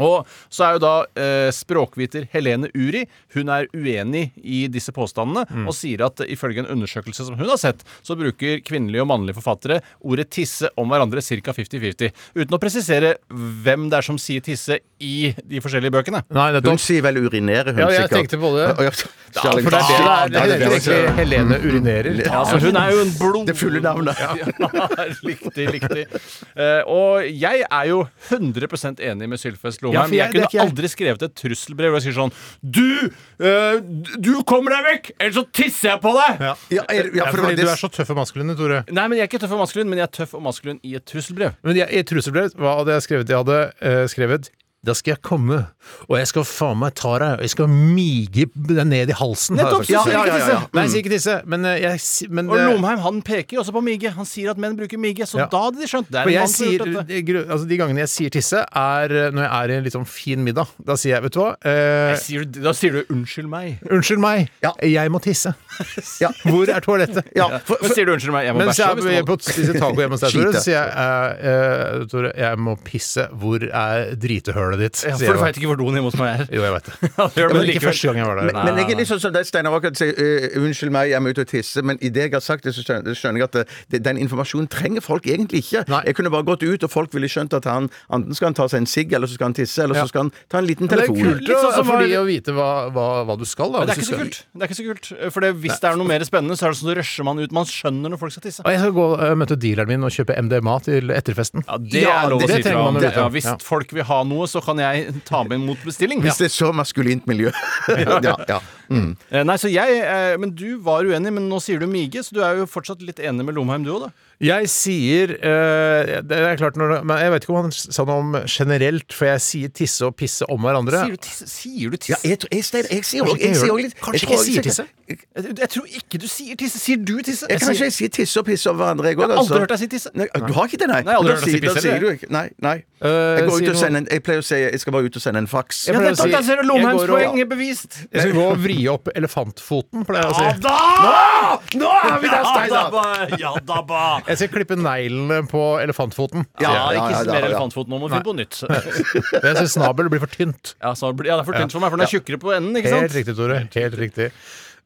Og så er jo da eh, språkviter Helene Uri Hun er uenig i disse påstandene og sier at eh, ifølge en undersøkelse som hun har sett, så bruker kvinnelige og mannlige forfattere ordet tisse om hverandre ca. 50-50. Uten å presisere hvem det er som sier tisse i de forskjellige bøkene.
Nei,
Hun
nettopp.
sier vel 'urinere', hun
Ja, jeg
sikkert.
tenkte på det.
Å, ja,
Ja, for det er det det
Ja,
er.
det er
det er
egentlig Helene urinerer.
Ja, så hun er jo en blod...
Det fulle navnet.
Ja, riktig, riktig. Eh, og jeg er jo 100 enig med Sylfest
Ja,
Lomheim.
for jeg-
jeg, kunne
det er ikke jeg.
aldri skrevet et trusselbrev hvor jeg sier sånn Du! eh, du kommer deg vekk! Ellers så tisser jeg på deg!
Ja, er, ja,
Ja,
for det var
fordi
det
du er så tøff og maskulin, Tore.
Nei, men jeg er ikke tøff og maskulin, men jeg er tøff og maskulin i et trusselbrev.
Men jeg, i trusselbrev, hva hadde jeg skrevet? Jeg hadde eh, skrevet Da skal jeg komme, og jeg skal faen meg ta deg, og jeg skal mige deg ned i halsen. har jeg
Nettopp,
sagt.
så sier ikke disse.
Nei, jeg sier ikke disse, men eh, jeg si- men,
Og
eh,
Lomheim han peker jo også på mige. Han sier at menn bruker mige, så
Ja.
da hadde de skjønt. Det er
Men
en
jeg
mann som har
sier,
gjort dette.
gru- altså De gangene jeg sier tisse, er eh, når jeg er i en litt sånn fin middag. Da sier jeg, vet du hva eh,
Jeg sier, da sier du 'unnskyld meg'.
Unnskyld meg,
Ja.
jeg må tisse. Hvor er toalettet?
Ja, for,
Men sier du 'unnskyld meg', jeg må
Men så
bæsje.
er
hvis
vi
man-
på å spise taco hjemme hos deg, Tore.
Skite.
Så sier jeg eh, eh, Tore, jeg må pisse. Hvor er dritehølet ditt?
Ja,
Sier
for
jeg
du
da.
veit ikke hvor doen hjemme hos meg er.
Jo, jeg veit det.
Ja, det gjør
Men
det
ikke
likevel.
første gang jeg var der.
Men, men jeg er litt sånn som deg, Steinar Aakert sier eh, 'unnskyld meg, jeg må ut og tisse', men idet jeg har sagt det, så skjønner, skjønner jeg at det, det, den informasjonen trenger folk egentlig ikke.
Nei.
Jeg kunne bare gått ut, og folk ville skjønt at han enten skal han ta seg en sigg, eller så skal han tisse, eller
Ja.
så skal han ta en liten
Det er
telefon.
kult
Litt sånn
å-
som
for
var-
de å vite hva, hva, hva du skal. Da,
Men det er
hvis du
ikke så
skal-
kult. Det er ikke så kult. Eh, For det, hvis det er noe mer spennende, så er det sånn at du rusher man ut. Man skjønner når folk skal tisse.
Og jeg skal gå og møte dealeren min og kjøpe MDMA til etterfesten.
Ja, det
Ja,
er lov å
det
si
trenger
fra
man
om.
å vite.
Ja, hvis
Ja.
folk vil ha noe, så kan jeg ta med mot bestilling.
Hvis det er så maskulint miljø. ja, ja. Mm.
Eh, Nei, så jeg, eh, Men du var uenig, men nå sier du mige, så du er jo fortsatt litt enig med Lomheim, du òg, da.
Jeg sier eh, Det er klart når det, Men jeg vet ikke om han sa noe om generelt, for jeg sier tisse og pisse om hverandre.
Sier du tisse? Sier du
ja
tisse?
jeg, tror- jeg, Steinar, jeg sier
Kanskje
også- jeg
ikke
sier
gjør-
også litt
kanskje
jeg
ikke
tror
jeg sier
også-
tisse.
Jeg, jeg tror ikke du sier tisse. Sier du tisse?
Jeg, kanskje
sier-
jeg sier tisse og pisse over hverandre, jeg òg.
Jeg har aldri hørt deg si tisse.
Nei, du har ikke det, nei?
Nei, jeg har aldri
Da
hørt deg si
sier- da
pisse,
sier
eller?
du ikke Nei. nei.
Eh,
Jeg, går ut
sier
og
noe-
sender en, jeg pleier å si jeg skal bare ut og sende en faks.
Jeg
Ja,
pleier å
nettopp,
si-
der ser du Lomheims
jeg går og-
poeng er bevist.
Jeg skal gå og vri opp elefantfoten, pleier jeg å si.
Nå er vi der, Steinar!
Ja da ba!
Jeg skal klippe neglene på elefantfoten.
Ja,
Ja, ja,
ikke
ja,
mer
ja.
elefantfot nå, må vi finne på nytt.
Men Jeg syns snabel blir for tynt.
Ja, så, blir- ja, det er for tynt for meg, for den er tjukkere på enden, ikke sant?
Helt riktig, Tore. Helt riktig.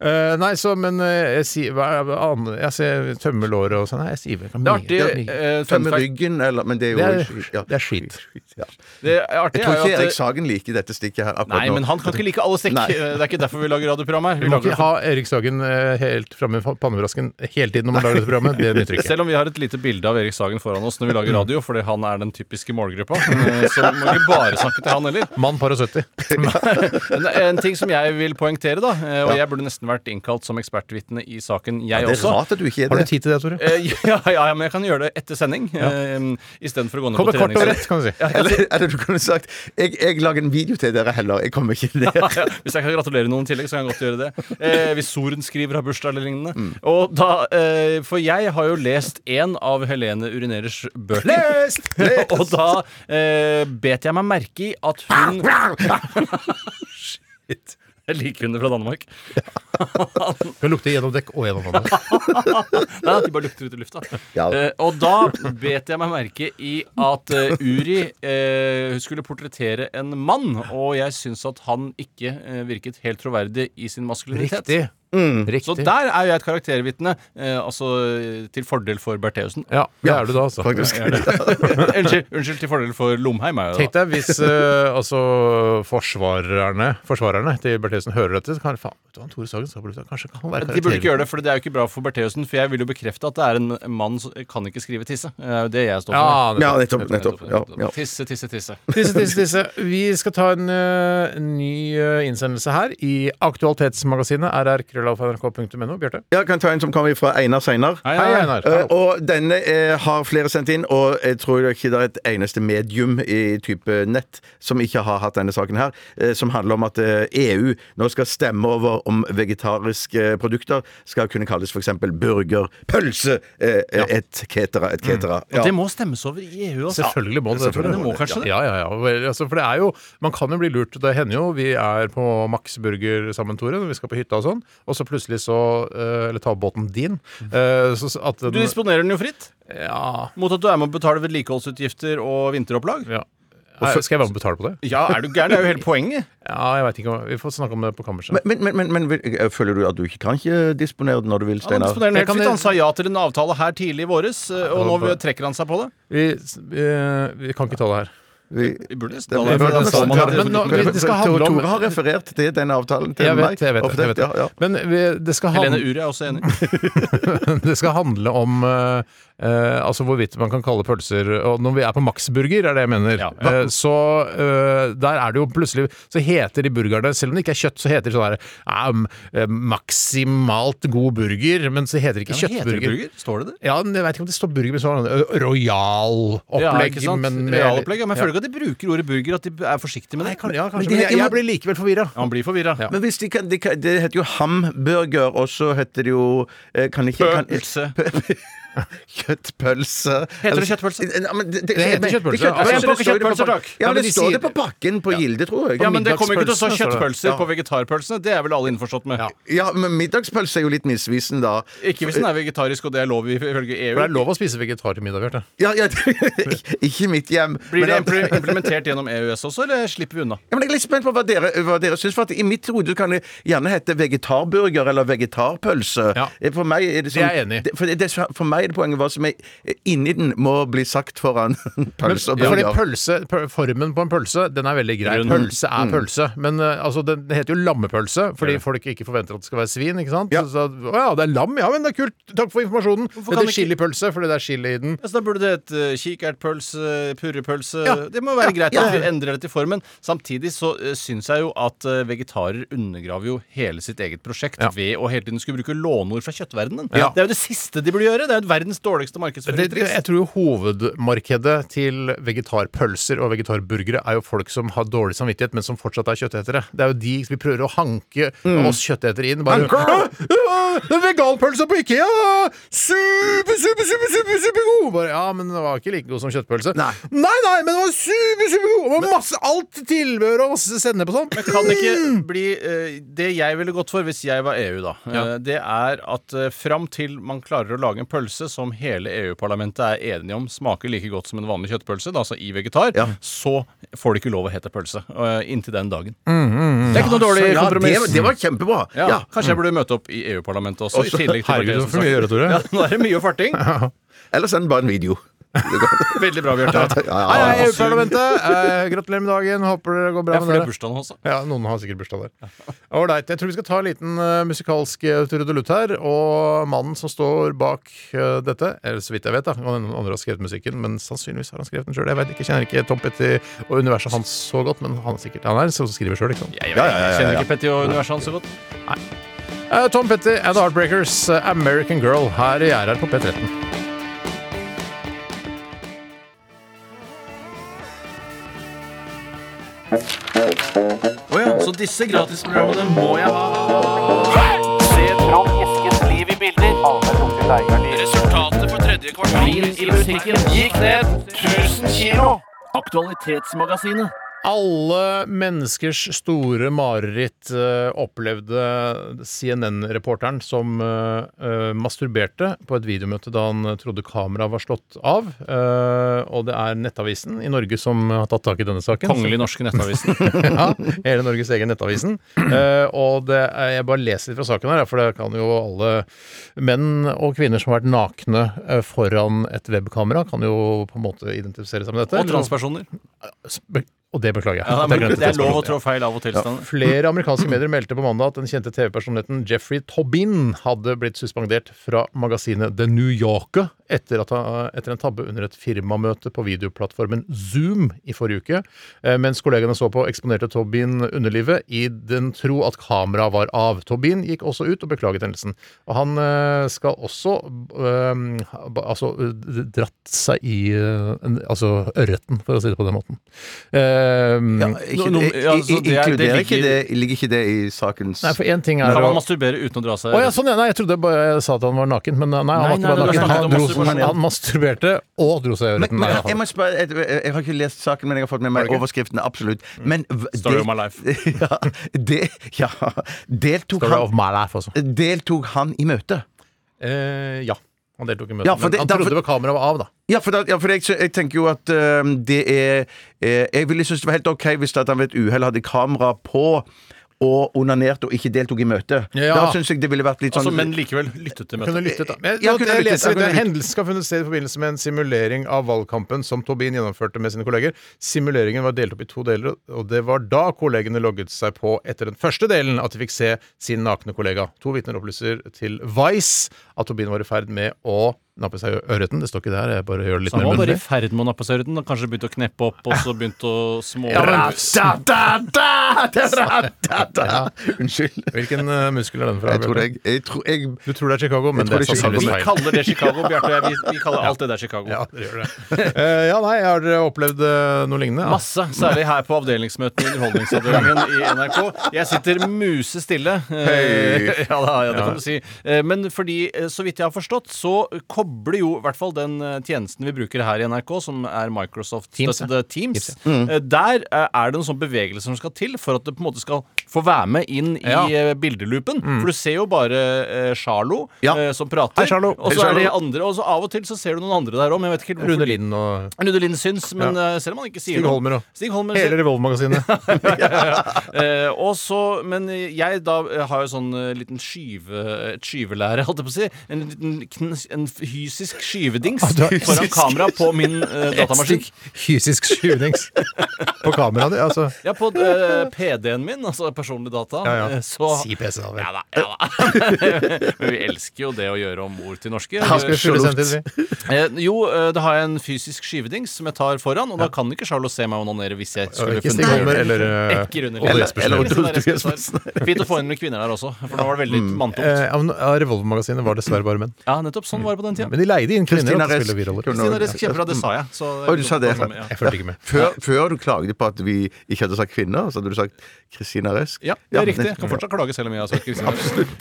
Eh, nei, så, men eh, jeg sier hva er det andre? Jeg sier tømme låret og sånn. Nei, jeg sier vel
Det er artig, eh, fun
Tømme
fact-
ryggen, eller Men det er jo
Det er-
ja.
det er skit.
Ja.
det er artig
Jeg tror
er jo
ikke
at
Erik
det-
Sagen liker dette stikket her akkurat
Nei, men han kan ikke like alle stikk.
Nei.
Det er ikke derfor vi lager radioprogram her. Vi
Vi må
lager det
ikke
for-
ha Erik Sagen eh, helt framme i pannebrasken hele tiden når man lager dette programmet. Det nytter ikke.
Selv om vi har et lite bilde av Erik Sagen foran oss når vi lager radio, fordi han er den typiske målgruppa, eh, så må vi ikke bare snakke til han heller.
Mann par og 70.
En, en ting som jeg vil poengtere, da, eh, og jeg burde nesten vært innkalt som ekspertvitne i saken, jeg
nå. Det er
også.
rart at du ikke er
Har du
det.
tid til det, Tore?
Eh, Ja, ja, ja, men jeg kan gjøre det etter sending, eh, istedenfor å gå ned
Kom
på
med kort og
treningssenter.
rett, kan du si.
Eller, eller du kunne sagt jeg, 'Jeg lager en video til dere heller'. Jeg kommer ikke ned.
ja, hvis jeg kan gratulere noen i tillegg, så kan jeg godt gjøre det. Eh, hvis sorenskriver har bursdag eller lignende. Og da, eh, For jeg har jo lest én av Helene Urinerers bøker. Lest! og da eh, bet jeg meg merke i at hun Shit. Jeg liker hunder fra Danmark.
Hun lukter gjennom dekk og gjennom vannet.
Nei, de bare lukter ut i lufta.
Ja.
Eh, og da bet jeg meg merke i at eh, Uri eh, skulle portrettere en mann, og jeg syns at han ikke eh, virket helt troverdig i sin maskulinitet.
Riktig.
Så
Riktig.
der er jo jeg et karaktervitne, eh, altså eh, til fordel for Bertheussen. Eh,
Ja, det er du da, altså.
Faktisk.
unnskyld, unnskyld, til fordel for Lomheim. Er jo
Tenk
da.
deg hvis eh, altså, forsvarerne, forsvarerne til Bertheussen hører dette, så kan faen, vet du hva, Tore Sagen skal bli ute. Kanskje kan han være
De burde ikke gjøre det, for det er jo ikke bra for Bertheussen. For jeg vil jo bekrefte at det er en mann som kan ikke skrive tisse. Det er jo det jeg står
Ja,
for.
det
Ja, nettopp. nettopp. Ja, ja.
Tisse, tisse, tisse.
Tisse, tisse, tisse. Vi skal ta en eh, ny eh, innsendelse her i Aktualitetsmagasinet rrkrøllalfa.nrk.no. Bjarte?
Jeg kan ta en som kommer fra Einar seinere.
Hei,
Hei,
hei.
Einar.
Eh, og denne eh, har flere sendt inn, og jeg tror ikke det er et eneste medium i type nett som ikke har hatt denne saken her, eh, som handler om at eh, EU nå skal stemme over om vegetariske eh, produkter skal kunne kalles f.eks. burger, pølse, eh, et cetera, et cetera.
Mm.
Og
Ja.
det må stemmes over i EU, altså.
Selvfølgelig må det det.
Selvfølgelig må kanskje det.
Ja, ja, ja. Vel, Altså, for det er jo Man kan jo bli lurt. Det hender jo vi er på Max Burger sammen, Tore, når vi skal på hytta og sånn, og så plutselig så eh, Eller ta båten din. eh, så, så at
Du
den,
disponerer den jo fritt,
ja,
mot at du er med å betale vedlikeholdsutgifter og vinteropplag.
ja. Er, skal jeg være med og betale på det?
Ja, er du gæren? Det er jo hele poenget.
Ja, jeg veit ikke. hva- Vi får snakke om det på kammerset.
Men, men, men, men, vil- eh, føler du at du ikke kan ikke disponere den når du vil,
Han
Steinar?
disponerer
Jeg
den helt
kan-
fritt. Han sa ja til en avtale her tidlig i våres, eh, og nå trekker han seg på det.
Vi, eh, vi kan ikke ta det her.
Vi-
Vi burde nesten
Det-
ta det.
vi burde nesten
Salman
ta
hadde-
sånn-
det. sånn-
Men nå- vi- det skal handle
Tore
om-
Tore har referert til den avtalen til
Jeg
meg.
vet, jeg vet, det, jeg vet.
Ja, ja.
det. Men vi, det skal handle
Helene Uri er også enig.
Det skal handle om eh, eh, altså hvorvidt man kan kalle pølser Og når vi er på Max Burger, er det jeg mener.
Ja.
Eh, så eh, der er det jo plutselig Så heter de burgerne, selv om det ikke er kjøtt, så heter de sånn her um, eh, Maksimalt god burger, men så heter det ikke
Ja, men heter det
kjøttburger.
burger? Står det det?
Ja, men jeg veit ikke om det står burger, men sånn rojal
Ja,
opplegg.
ikke sant?
men-
Realopplegg, ja, men jeg føler ikke at de bruker ordet burger, at de er forsiktige med det.
ja,
Men
kanskje,
de
men
heter
jeg,
jo-
jeg blir likevel forvirra.
Han blir forvirra.
Men hvis de kan, de kan, det heter jo hamburger, og så heter det jo eh, kan ikke, kan,
Pølse.
Kjøttpølse.
Heter det kjøttpølse?
Ja, men det,
Det heter
men-
kjøttpølse.
det er
Altså,
men
en pakke
det står det på
kjøttpølser,
pak-
takk.
Ja,
Ja,
men
men
det
de
står det
sier-
på pakken på Gilde, tror jeg. altså.
Ja, men det kommer jo ikke til å stå
Middagspølse, står det.
kjøttpølser
Ja.
på vegetarpølsene. Det er vel alle innforstått med.
Ja, men middagspølse er jo litt misvisende, da.
Ikke hvis den er vegetarisk, og det er lov ifølge E EU.
For det er lov å spise vegetar til middag, Bjarte.
Ja, ja, ikke mitt hjem.
Blir det
men at-
impl- implementert gjennom EØS også, eller slipper vi unna?
Ja, men jeg er litt spent på hva dere, hva dere syns. For at I mitt hode kan det gjerne hete vegetarburger eller vegetarpølse.
Ja.
Eh, For meg er det sånn,
Det er jeg enig i.
det- For, det, det, for meg er det poenget hva som er inni den, må bli sagt foran pølse og
Ja, fordi
burger.
pølse, pø- Formen på en pølse den er veldig grei.
Rund.
Pølse er pølse. Men eh, altså, den heter jo lammepølse fordi folk ikke forventer at det skal være svin. ikke sant?
Ja.
Så, så, å ja, det er lam! Ja, men det er kult! Takk for informasjonen.
kan
Det heter
ikke-
chilipølse fordi det er chili i
Mm.
den.
Ja, Så da burde det hete eh, kikertpølse, purrepølse
Ja.
Det må være greit
ja.
at vi endrer det til formen. Samtidig så uh, syns jeg jo at eh, vegetarer undergraver jo hele sitt eget prosjekt
Ja.
ved å hele tiden skulle bruke låneord fra kjøttverdenen.
Ja.
Det er jo det siste de burde gjøre! Det er jo verdens dårligste
Det, det, jeg
markedsføringstriks.
tror jo hovedmarkedet til vegetarpølser og vegetarburgere er jo folk som har dårlig samvittighet, men som fortsatt er kjøttetere. Det er jo de vi prøver å hanke oss kjøttetere inn. Bare,
Hanke!
«Åh, den Veganpølsa på Ikea! Super, super, super, super, supergod! Bare, ja, men den var ikke like god som kjøttpølse.
Nei.
nei, nei, men den var super, supergod! Det var masse alt tilbehør og masse sennep og sånn.
Kan det ikke
Mm.
bli eh, Det jeg ville gått for hvis jeg var EU, da, eh, det er at uh, fram til man klarer å lage en pølse som hele EU-parlamentet er enige om smaker like godt som en vanlig kjøttpølse, da, altså i vegetar,
Ja.
så får det ikke lov å hete pølse. eh, inntil den dagen. Det er ikke noe dårlig
Mm, Ja,
kompromiss.
det, var- det var kjempebra.
Ja,
Ja. Mm.
Kanskje jeg burde møte opp i EU-parlamentet også, i tillegg til
Herregud,
partiet
det var
som
for mye å
snakker.
gjøre, Tore.
Ja, nå er det mye farting.
Eller send bare en video.
Veldig bra, Bjarte.
Ja, ja,
Hei,
ja.
hei, EU-parlamentet. Eh, gratulerer med dagen. Håper det går
Ja,
bra
for
med
det er
dere.
bursdagen også.
Ja, noen har sikkert bursdag der. Ålreit. Jeg tror vi skal ta en liten eh, musikalsk eh, trudelutt her. Og mannen som står bak eh, dette, eller så vidt jeg vet, da noen andre har skrevet musikken, men sannsynligvis har han skrevet den sjøl. Jeg vet ikke, jeg kjenner ikke Tom Petty og universet hans så godt, men han er sikkert han er en som skriver sjøl, ikke sant.
Jeg, vet, jeg kjenner ikke Petty og universet hans så godt.
Eh, Tom Petty and The Heartbreakers, eh, American Girl, her i gjerdet på P13.
Så disse gratisprogrammene må jeg ha. Resultatet for tredje kvartal i musikken gikk ned 1000 kilo. Aktualitetsmagasinet.
Alle menneskers store mareritt eh, opplevde CNN-reporteren som eh, eh, masturberte på et videomøte da han eh, trodde kameraet var slått av. Eh, og det er Nettavisen i Norge som har tatt tak i denne saken.
Kongelig norske nettavisen.
ja, hele Norges egen Nettavisen. Eh, og det, er- jeg bare leser litt fra saken her, for det kan jo alle menn og kvinner som har vært nakne eh, foran et webkamera, kan jo på en måte identifisere seg med dette.
Og transpersoner.
Be- Og det beklager jeg.
Ja,
At jeg glemte
det er lov å
transpersoner.
trå feil av og til. Steinar.
Flere amerikanske medier meldte på mandag at den kjente TV-personligheten Jeffrey Tobin hadde blitt suspendert fra magasinet The New Yorker etter, at han, etter en tabbe under et firmamøte på videoplattformen Zoom i forrige uke. Eh, Mens kollegene så på, eksponerte Tobin underlivet i den tro at kameraet var av. Tobin gikk også ut og beklaget hendelsen. Og han eh, skal også eh, ha- ba- altså, eh, dratt seg i eh, en- altså ørreten, for å si det på den måten. Eh,
Ja, ikke,
Nå- nå-
i- i-
ja, så det er- det
inkluderer ikke
ligger-
det Ligger ikke det i sakens
Nei, for én ting er å
Kan man masturbere uten å dra seg
Å ja, sånn, ja. Nei, jeg trodde bare jeg sa at han var naken, men nei, han
Nei,
var
nei,
ikke bare
nei,
naken.
du snakket
Han,
om
dro,
masturbasjon.
han masturberte og dro seg i
Men,
ørreten.
men
Nei,
jeg
han-
må spørre, jeg, jeg, jeg har ikke lest saken, men jeg har fått med meg overskriften. Absolutt. Men v-
Mm. Story of
del-
my life.
Ja, det, ja, deltok,
Story of
han,
my life, altså.
deltok han i møtet?
Eh, ja. Han deltok i møtet.
Ja, for det-
men han
derfor-
trodde det var kameraet var av, da.
Ja, for, da, ja, for jeg, sy- jeg tenker jo at øhm, det er eh, Jeg ville synes det var helt ok hvis det at han ved et uhell hadde kamera på og onanerte og ikke deltok i møtet.
Ja.
Da syns jeg det ville vært litt sånn
Altså, men likevel lyttet til
Kunne
møtet.
lyttet, da. Men,
Ja,
nå-
kunne
jeg
lyttet,
leser
jeg kunne
videre.
lyttet.
Hendelsen skal finne sted i forbindelse med en simulering av valgkampen som Tobin gjennomførte med sine kolleger. Simuleringen var delt opp i to deler, og det var da kollegene logget seg på etter den første delen at de fikk se sin nakne kollega. To vitner opplyser til Vice at Tobin var i ferd med å nappe seg i ørreten. Det står ikke der, jeg bare gjør det litt
Så han
mer
var
muntlig.
bare i ferd med å nappe seg ørreten. Han Kanskje begynte å kneppe opp, og så begynte å små...
Ja, men-
Unnskyld.
Hvilken eh, muskel er den fra?
Jeg tror
Bjarte?
jeg, jeg, tror jeg
Du tror det er Chicago, men
tror
det er
det er
sannsynligvis
vi
Chicago.
feil.
kaller det Chicago, Bjarte og jeg. Vi, vi kaller alt det der Chicago.
Ja, det gjør det. Eh, ja, nei, har dere opplevd eh, noe lignende? Ja.
Masse, særlig her på avdelingsmøtene i Underholdningsavdelingen i NRK. Jeg sitter musestille. Eh, Ja da, ja, det kan du si. Eh, Men fordi, eh, så vidt jeg har forstått, så kobler jo i hvert fall den eh, tjenesten vi bruker her i NRK, som er Microsoft-støttede Teams,
Mm.
eh, der eh, er det en sånn bevegelse som skal til for at det på en måte skal få være med inn i
Ja. Mm.
eh, bildelupen. For du ser jo bare eh, Charlo
Ja.
eh, som prater,
Hei, Charlo.
og så
Hei,
er det
Charlo.
andre, og så av og til så ser du noen andre der òg, men jeg vet ikke helt
Rune
hvorfor de-
Lind og
Ludde Lind Mm. syns, men eh, selv om han ikke sier
Stig
noe.
Holmer og
Stig Holmer
hele
sier-
Revolve-magasinet.
Eh, og så, men jeg da eh, har jo sånn eh, liten skyve, et skyvelære, holdt jeg på å si. En, liten kn- en fysisk skyvedings
Ah, du har-
foran kamera på min eh, datamaskin.
Fysisk skyvnings på kameraet. Altså.
Ja, på eh, PD-en min, altså personlig data.
Ja, ja.
eh, Så,
Si PC, da vel.
ja da, ja da. Men vi elsker jo det å gjøre om ord til norske.
Han skulle skylde
Absolutt.
seg til, si.
Eh, jo, eh, da har jeg en fysisk skyvedings som jeg tar foran, og da kan ikke Charlotte se meg onanere hvis jeg skulle
Ikke Stig Holmer eller eh,
Ikke Rune
Odd
Eller-
Jespersen.
eller-
Litt sånn
Odd
der jeg skal
Jespersen.
ta- Fint å få inn noen kvinner der også, for nå var det veldig manntungt.
Eh, ja, men, ja, Revolver-magasinet var dessverre bare menn.
Ja, nettopp. Sånn var det på den tida.
Men de leide inn kvinner.
Christina
til å
Resk
spille biroller.
kunne-
Stina Resk kjempebra, det sa jeg. Så
Oi, du sa det.
Ja.
Jeg følte ikke med.
Før, før du klaget på at vi ikke hadde sagt kvinner, så hadde du sagt Christina Resk.
Ja, det er riktig. Jeg kan fortsatt klage selv om jeg har sagt Kristin.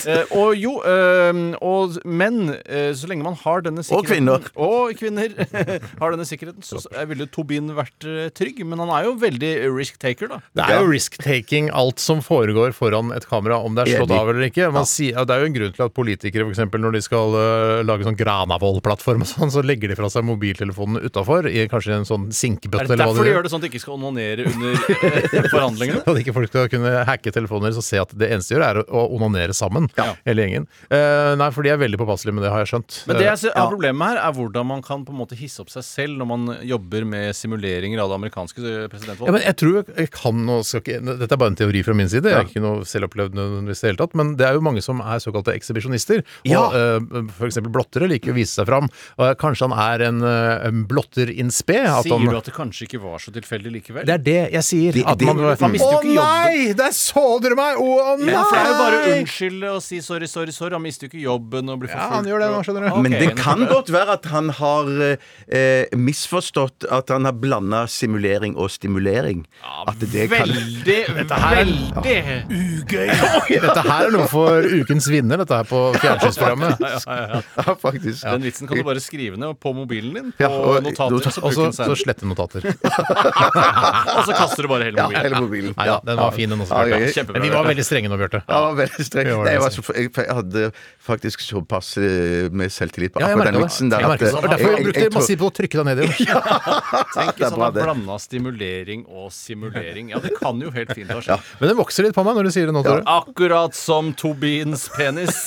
Eh, og jo, eh, og, men eh, så lenge man har denne sikkerheten
kvinner.
Og kvinner har denne sikkerheten, så så ville Tobin vært eh, trygg. Men han er jo veldig risk taker, da.
Det er jo risk-taking, alt som foregår foran et kamera, om det er slått
Enig.
av eller ikke. Man sier, ja, det er jo en grunn til at politikere, for eksempel, når de skal øh, lage sånn Granavolden-plattform og sånn, så legger de fra seg mobiltelefonen utafor, kanskje i en sånn
Er
sinkebøtte
det
eller hva
derfor de
det
gjør det sånn at de ikke skal onanere under eh, forhandlingene?
At ikke folk skal kunne hacke telefoner og se at det eneste de gjør, er å- å onanere sammen, hele gjengen. Eh, nei, for de er veldig påpasselige med det, har jeg skjønt.
Men det jeg ser, har problemet her er hvordan man kan på en måte hisse opp seg selv når man jobber med simuleringer av det amerikanske eh,
Ja,
presidentvalget.
men jeg tror jeg kan nå skal ikke, Dette er bare en teori fra min side. Jeg har ikke noe selv opplevd nødvendigvis i det hele tatt. Men det er jo mange som er såkalte ekshibisjonister. Og
Ja.
eh, for eksempel blottere liker å vise seg fram. Og kanskje han er en, eh, en blotter in spe. At
Sier du
han,
at det kanskje ikke var så tilfeldig likevel?
det er det jeg sier.
De-
at
de-
man,
man
mister jo ikke jobben.
Der så dere meg! Å, å
Men for det er jo bare å unnskylde og si sorry, sorry, sorry. Han mister jo ikke jobben og blir
Ja,
forfulgt.
han gjør det nå,
og-
skjønner du.
Ok,
Men det
nå-
kan godt være at han har eh, misforstått at han har blanda simulering og stimulering. at det kan
Veldig, veldig
Dette her er noe for ukens vinner, dette her på fjernsynsprogrammet.
Ja, faktisk.
Den vitsen kan du bare skrive ned på mobilen din. På
Ja, og-
notater.
notat-
så
Og
bruker
så
den
så
senere.
slette notater.
Og så kaster du bare hele
Ja,
mobilen.
hele mobilen.
Nei da, den var fin, den også.
Ja, ja, ja.
Bjarte. Men vi var veldig strenge nå, Bjarte.
Ja, det var veldig streng.
Ja, det var
Nei, jeg,
det
var så, jeg, jeg hadde faktisk såpass eh, med selvtillit på
Ja, jeg merker
akkurat den
det.
vitsen. der
Jeg
at,
merker det. Det
eh,
var derfor jeg brukte
tror-
massivt på å trykke deg ned i det.
Tenk
det er
hvis han
bra,
har
det.
blanda stimulering og simulering. Ja, det kan jo helt fint ha skjedd.
Men det vokser litt på meg når du sier det nå, Tore.
Akkurat som Tobins penis.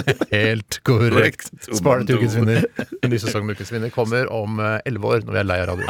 Helt korrekt.
Korrekt.
Spar det til ukens vinner. En ny sesong med ukens vinner kommer om eh, elleve år, når vi er lei av radio.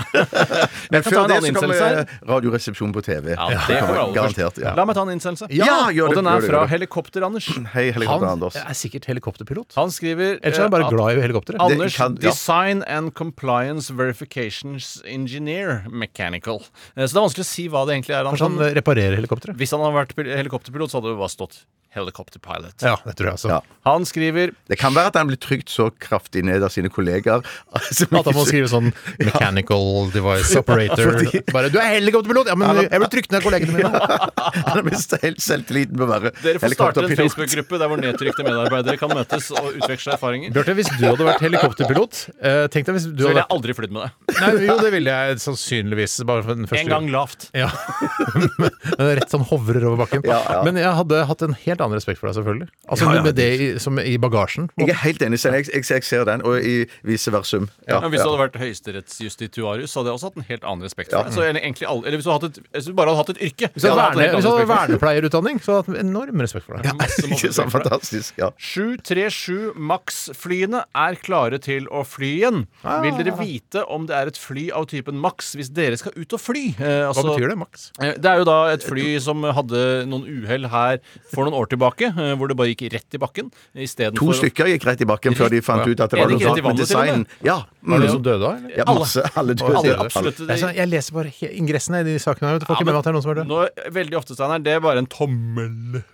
kan ta en
Men før
annen
det så kommer
innsendelse her.
eh, Radioresepsjon på TV.
Ja, det kommer alle
Garantert.
først.
Ja.
La meg ta en innsendelse.
Ja, gjør
og
det,
den
gjør
er
det,
fra
gjør det.
Helikopter-Anders.
Hei, helikopter
Han
Anders.
er sikkert helikopterpilot.
Han skriver
Ellers er han bare
eh, at
glad i helikopteret.
Det
Anders,
kan- ja.
Design and Compliance Verifications Engineer Mechanical. Eh, Så det er vanskelig å si hva det egentlig er. Han,
Kanskje han eh, reparerer helikopteret?
hvis han hadde vært pil- helikopterpilot, så hadde det bare stått helikopterpilot.
Ja, det tror jeg altså.
Ja.
Han skriver
Det kan være at han blir trygt så kraftig ned av sine kollegaer. som
At han må
ikke-
skrive sånn 'mechanical device operator'. Bare 'du er helikopterpilot'! Ja, men jeg ble trykt ned av kollegene mine.
Han har mistet helt selvtilliten på å være
dere får starte en
helikopterpilot.
Facebook-gruppe der hvor nedtrykte medarbeidere kan møtes og utveksle erfaringer.
Bjarte, hvis du hadde vært helikopterpilot eh, Tenk deg hvis du
Så ville
hadde
jeg aldri flydd med deg.
Nei, Jo, det ville jeg sannsynligvis. Bare for den første
En gang lavt.
Ja. Rett sånn hovrer over bakken. Men jeg hadde hatt en helt annen respekt for deg, selvfølgelig. Altså Med det i, som i bagasjen.
Jeg er helt enig. Sten. Jeg, jeg, jeg ser den, og i vice versum. Ja,
Men hvis du hadde vært høyesterettsjustitiarius, så hadde jeg også hatt en helt annen respekt for deg. Så eller, egentlig aldri, eller hvis du, hadde hatt et, hvis du bare hadde hatt et yrke.
Hvis du
jeg
hadde,
hatt en
verne,
helt
hvis du hadde
annen respekt for deg.
vernepleierutdanning, så hadde jeg hatt enorm respekt for deg.
Masse
ja. Ikke
mobbespørsmål.
sant? Fantastisk. Ja.
737 Max-flyene er klare til å fly igjen.
Ah.
Vil dere vite om det er et fly av typen Max hvis dere skal ut og fly? Eh,
Hva
altså-
betyr det, Max?
Eh, Det er jo da et fly som hadde noen uhell her for noen år tilbake, eh, hvor det bare gikk rett i bakken. i stedet
To
for å-
stykker gikk rett i bakken før de fant
Ja.
ut at det
Ja,
var
de
noe
gikk rett i
galt med
vannet til og
designen.
med.
Ja,
Var det
mm.
noen som døde da, eller?
ja, masse. Alle døde.
Alle,
Alle.
absolutt. Det-
Jeg, sa- jeg leser bare he- ingressene i de sakene her. vet du. Får
Ja,
ikke med
men-
meg at det er noen som har dødd.
Nå, veldig ofte, Steinar, det er bare en tommelfingerregel.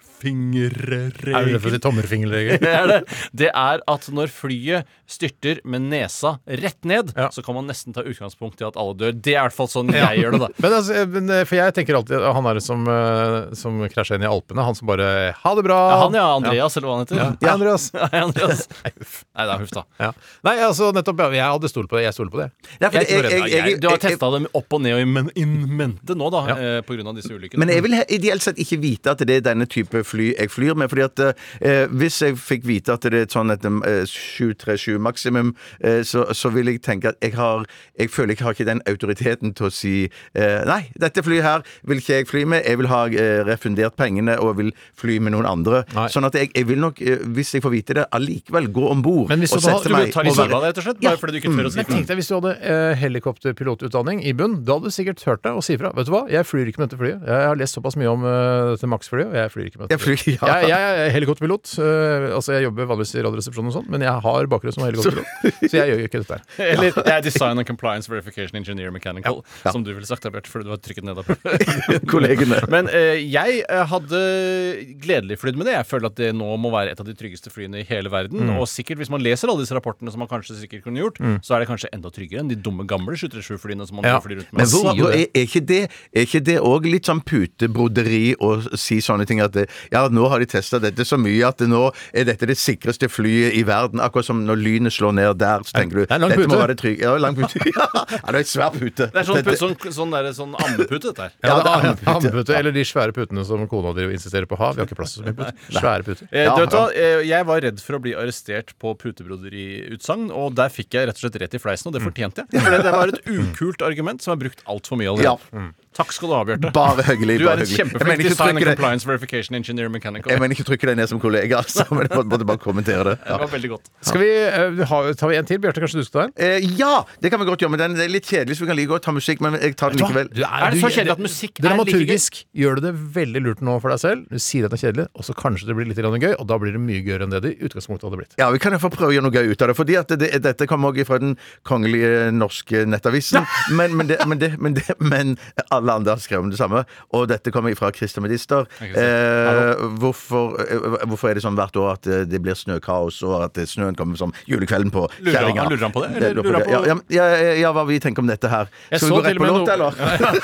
Er du redd for å si tommelfingerregel?
det er det. Det er at når flyet styrter med nesa rett ned,
Ja.
så kan man nesten ta utgangspunkt i at alle dør. Det er i hvert fall sånn jeg gjør det, da.
Men altså, men, eh, for jeg tenker alltid han er som, eh, som krasja inn i Alpene. Han som bare Ha det bra!
Ja, han ja, Andreas, eller hva han heter.
Hei, Andreas.
Hei, Andreas. Nei, det er huff, da.
Ja. Nei, altså, nettopp. ja, Jeg hadde stolt på det. Jeg stoler på det.
Nei, for
Jeg
det-
tror det er-
jeg- jeg-
Du har testa dem opp og ned og i men- in mente nå, da, eh, på grunn av disse ulykkene.
Men
Mm.
jeg vil he- ideelt sett ikke vite at det er denne type fly jeg flyr med. fordi at eh, Hvis jeg fikk vite at det er et sånn et eh, 737 maksimum, eh, så, så vil jeg tenke at jeg har Jeg føler jeg har ikke den autoriteten til å si eh, Nei, dette flyet her vil ikke jeg fly med. Jeg vil ha eh, refundert pengene og vil fly med noen andre.
Nei.
Sånn at jeg, jeg vil nok, eh, hvis jeg får vite det, allikevel gå om bord
Men
og
hvis du da-
sette
du
Du
meg Mm.
tar i
og være-
søla, rett og slett, bare fordi du ikke tør å si
Men tenk deg hvis du hadde eh, helikopterpilotutdanning i bunn. Da hadde du sikkert hørt deg og si fra. Vet du hva, jeg flyr ikke med dette flyet. Jeg har lest såpass mye om eh, dette Max-flyet, og jeg flyr ikke med
Jeg
dette flyet.
flyr- ja.
Jeg, jeg er helikopterpilot. eh, altså, jeg jobber vanligvis i Radioresepsjonen og sånn, men jeg har bakgrunn som helikopterpilot, så jeg gjør jo ikke dette her.
Eller jeg er Design and Compliance Verification Engineer Mechanical, som du ville sagt, Bjarte, fordi du har trykket ned. av-
Kollegene.
Men eh, jeg eh, hadde gledelig flydd med det. Jeg føler at det nå må være et av de tryggeste flyene i hele verden.
Mm.
Og sikkert, hvis man leser alle disse rapportene, som man kanskje sikkert kunne gjort, så er det kanskje enda tryggere enn de dumme gamle 737-flyene som man
Ja,
flyr rundt
Men
med.
hvor,
sier jo
hvor, er,
det.
er ikke det Er ikke det òg litt sånn putebroderi å si sånne ting at det, ja, nå har de testa dette så mye at det, nå er dette det sikreste flyet i verden? Akkurat som når lynet slår ned der, så tenker du
det er lang
dette
pute."
må være trygg. Ja, lang pute. Ja, det er en svær pute.
Det er sånn,
Dette-
sånn, sånn, der, sånn ammepute, dette her.
Ja, det er andepute, Eller de svære putene som kona di insisterer på å ha. Vi har ikke plass til så mye puter. Svære puter.
Eh,
Ja,
du vet hva, eh, Jeg var redd for å bli arrestert på putebroderiutsagn, og der fikk jeg rett og slett rett i fleisen, og
Mm.
det fortjente jeg. For det, det var et ukult argument som er brukt altfor mye allerede.
Ja.
Mm. Takk skal du ha, Bjarte.
Bare hyggelig.
Du
bare
er en
hyggelig. Jeg
kjempeflink
mener ikke
design and
trykke det-
compliance verification engineer mechanical.
jeg mener ikke trykke deg ned som kollega, altså, men jeg måtte bare kommentere det.
Det
Ja.
var veldig godt.
Skal vi, eh, ha, Tar vi en til? Bjarte, kanskje du skal ta en?
Eh, ja, det kan vi godt gjøre, men den det er litt kjedelig, så vi kan like godt ta musikk, men jeg tar den likevel.
Er det så kjedelig at musikk er like gøy?
Dramaturgisk gjør du det veldig lurt nå for deg selv. Du sier at det er kjedelig, og så kanskje det blir litt grann gøy, og da blir det mye gøyere enn det det i utgangspunktet hadde blitt.
Ja, vi kan iallfall prøve å gjøre noe gøy ut av det. Fordi at det, dette kommer også fra den kongelige norske nettavisen. Men, men, det, men, det, men, det, men alle andre har skrevet om det samme. Og dette kommer fra Christer Medister. Eh, hvorfor, eh, hvorfor er det sånn hvert år at eh, det blir snøkaos, og at eh, snøen kommer som julekvelden på
Lurer han-
kjerringa? Eh,
lurer han på det, eller
lurer
lurer han
på det? Ja, ja, ja, ja, hva vi tenker om dette her.
Jeg
Skal
så
vi gå
til og
rett på
med
låt,
noe-
eller?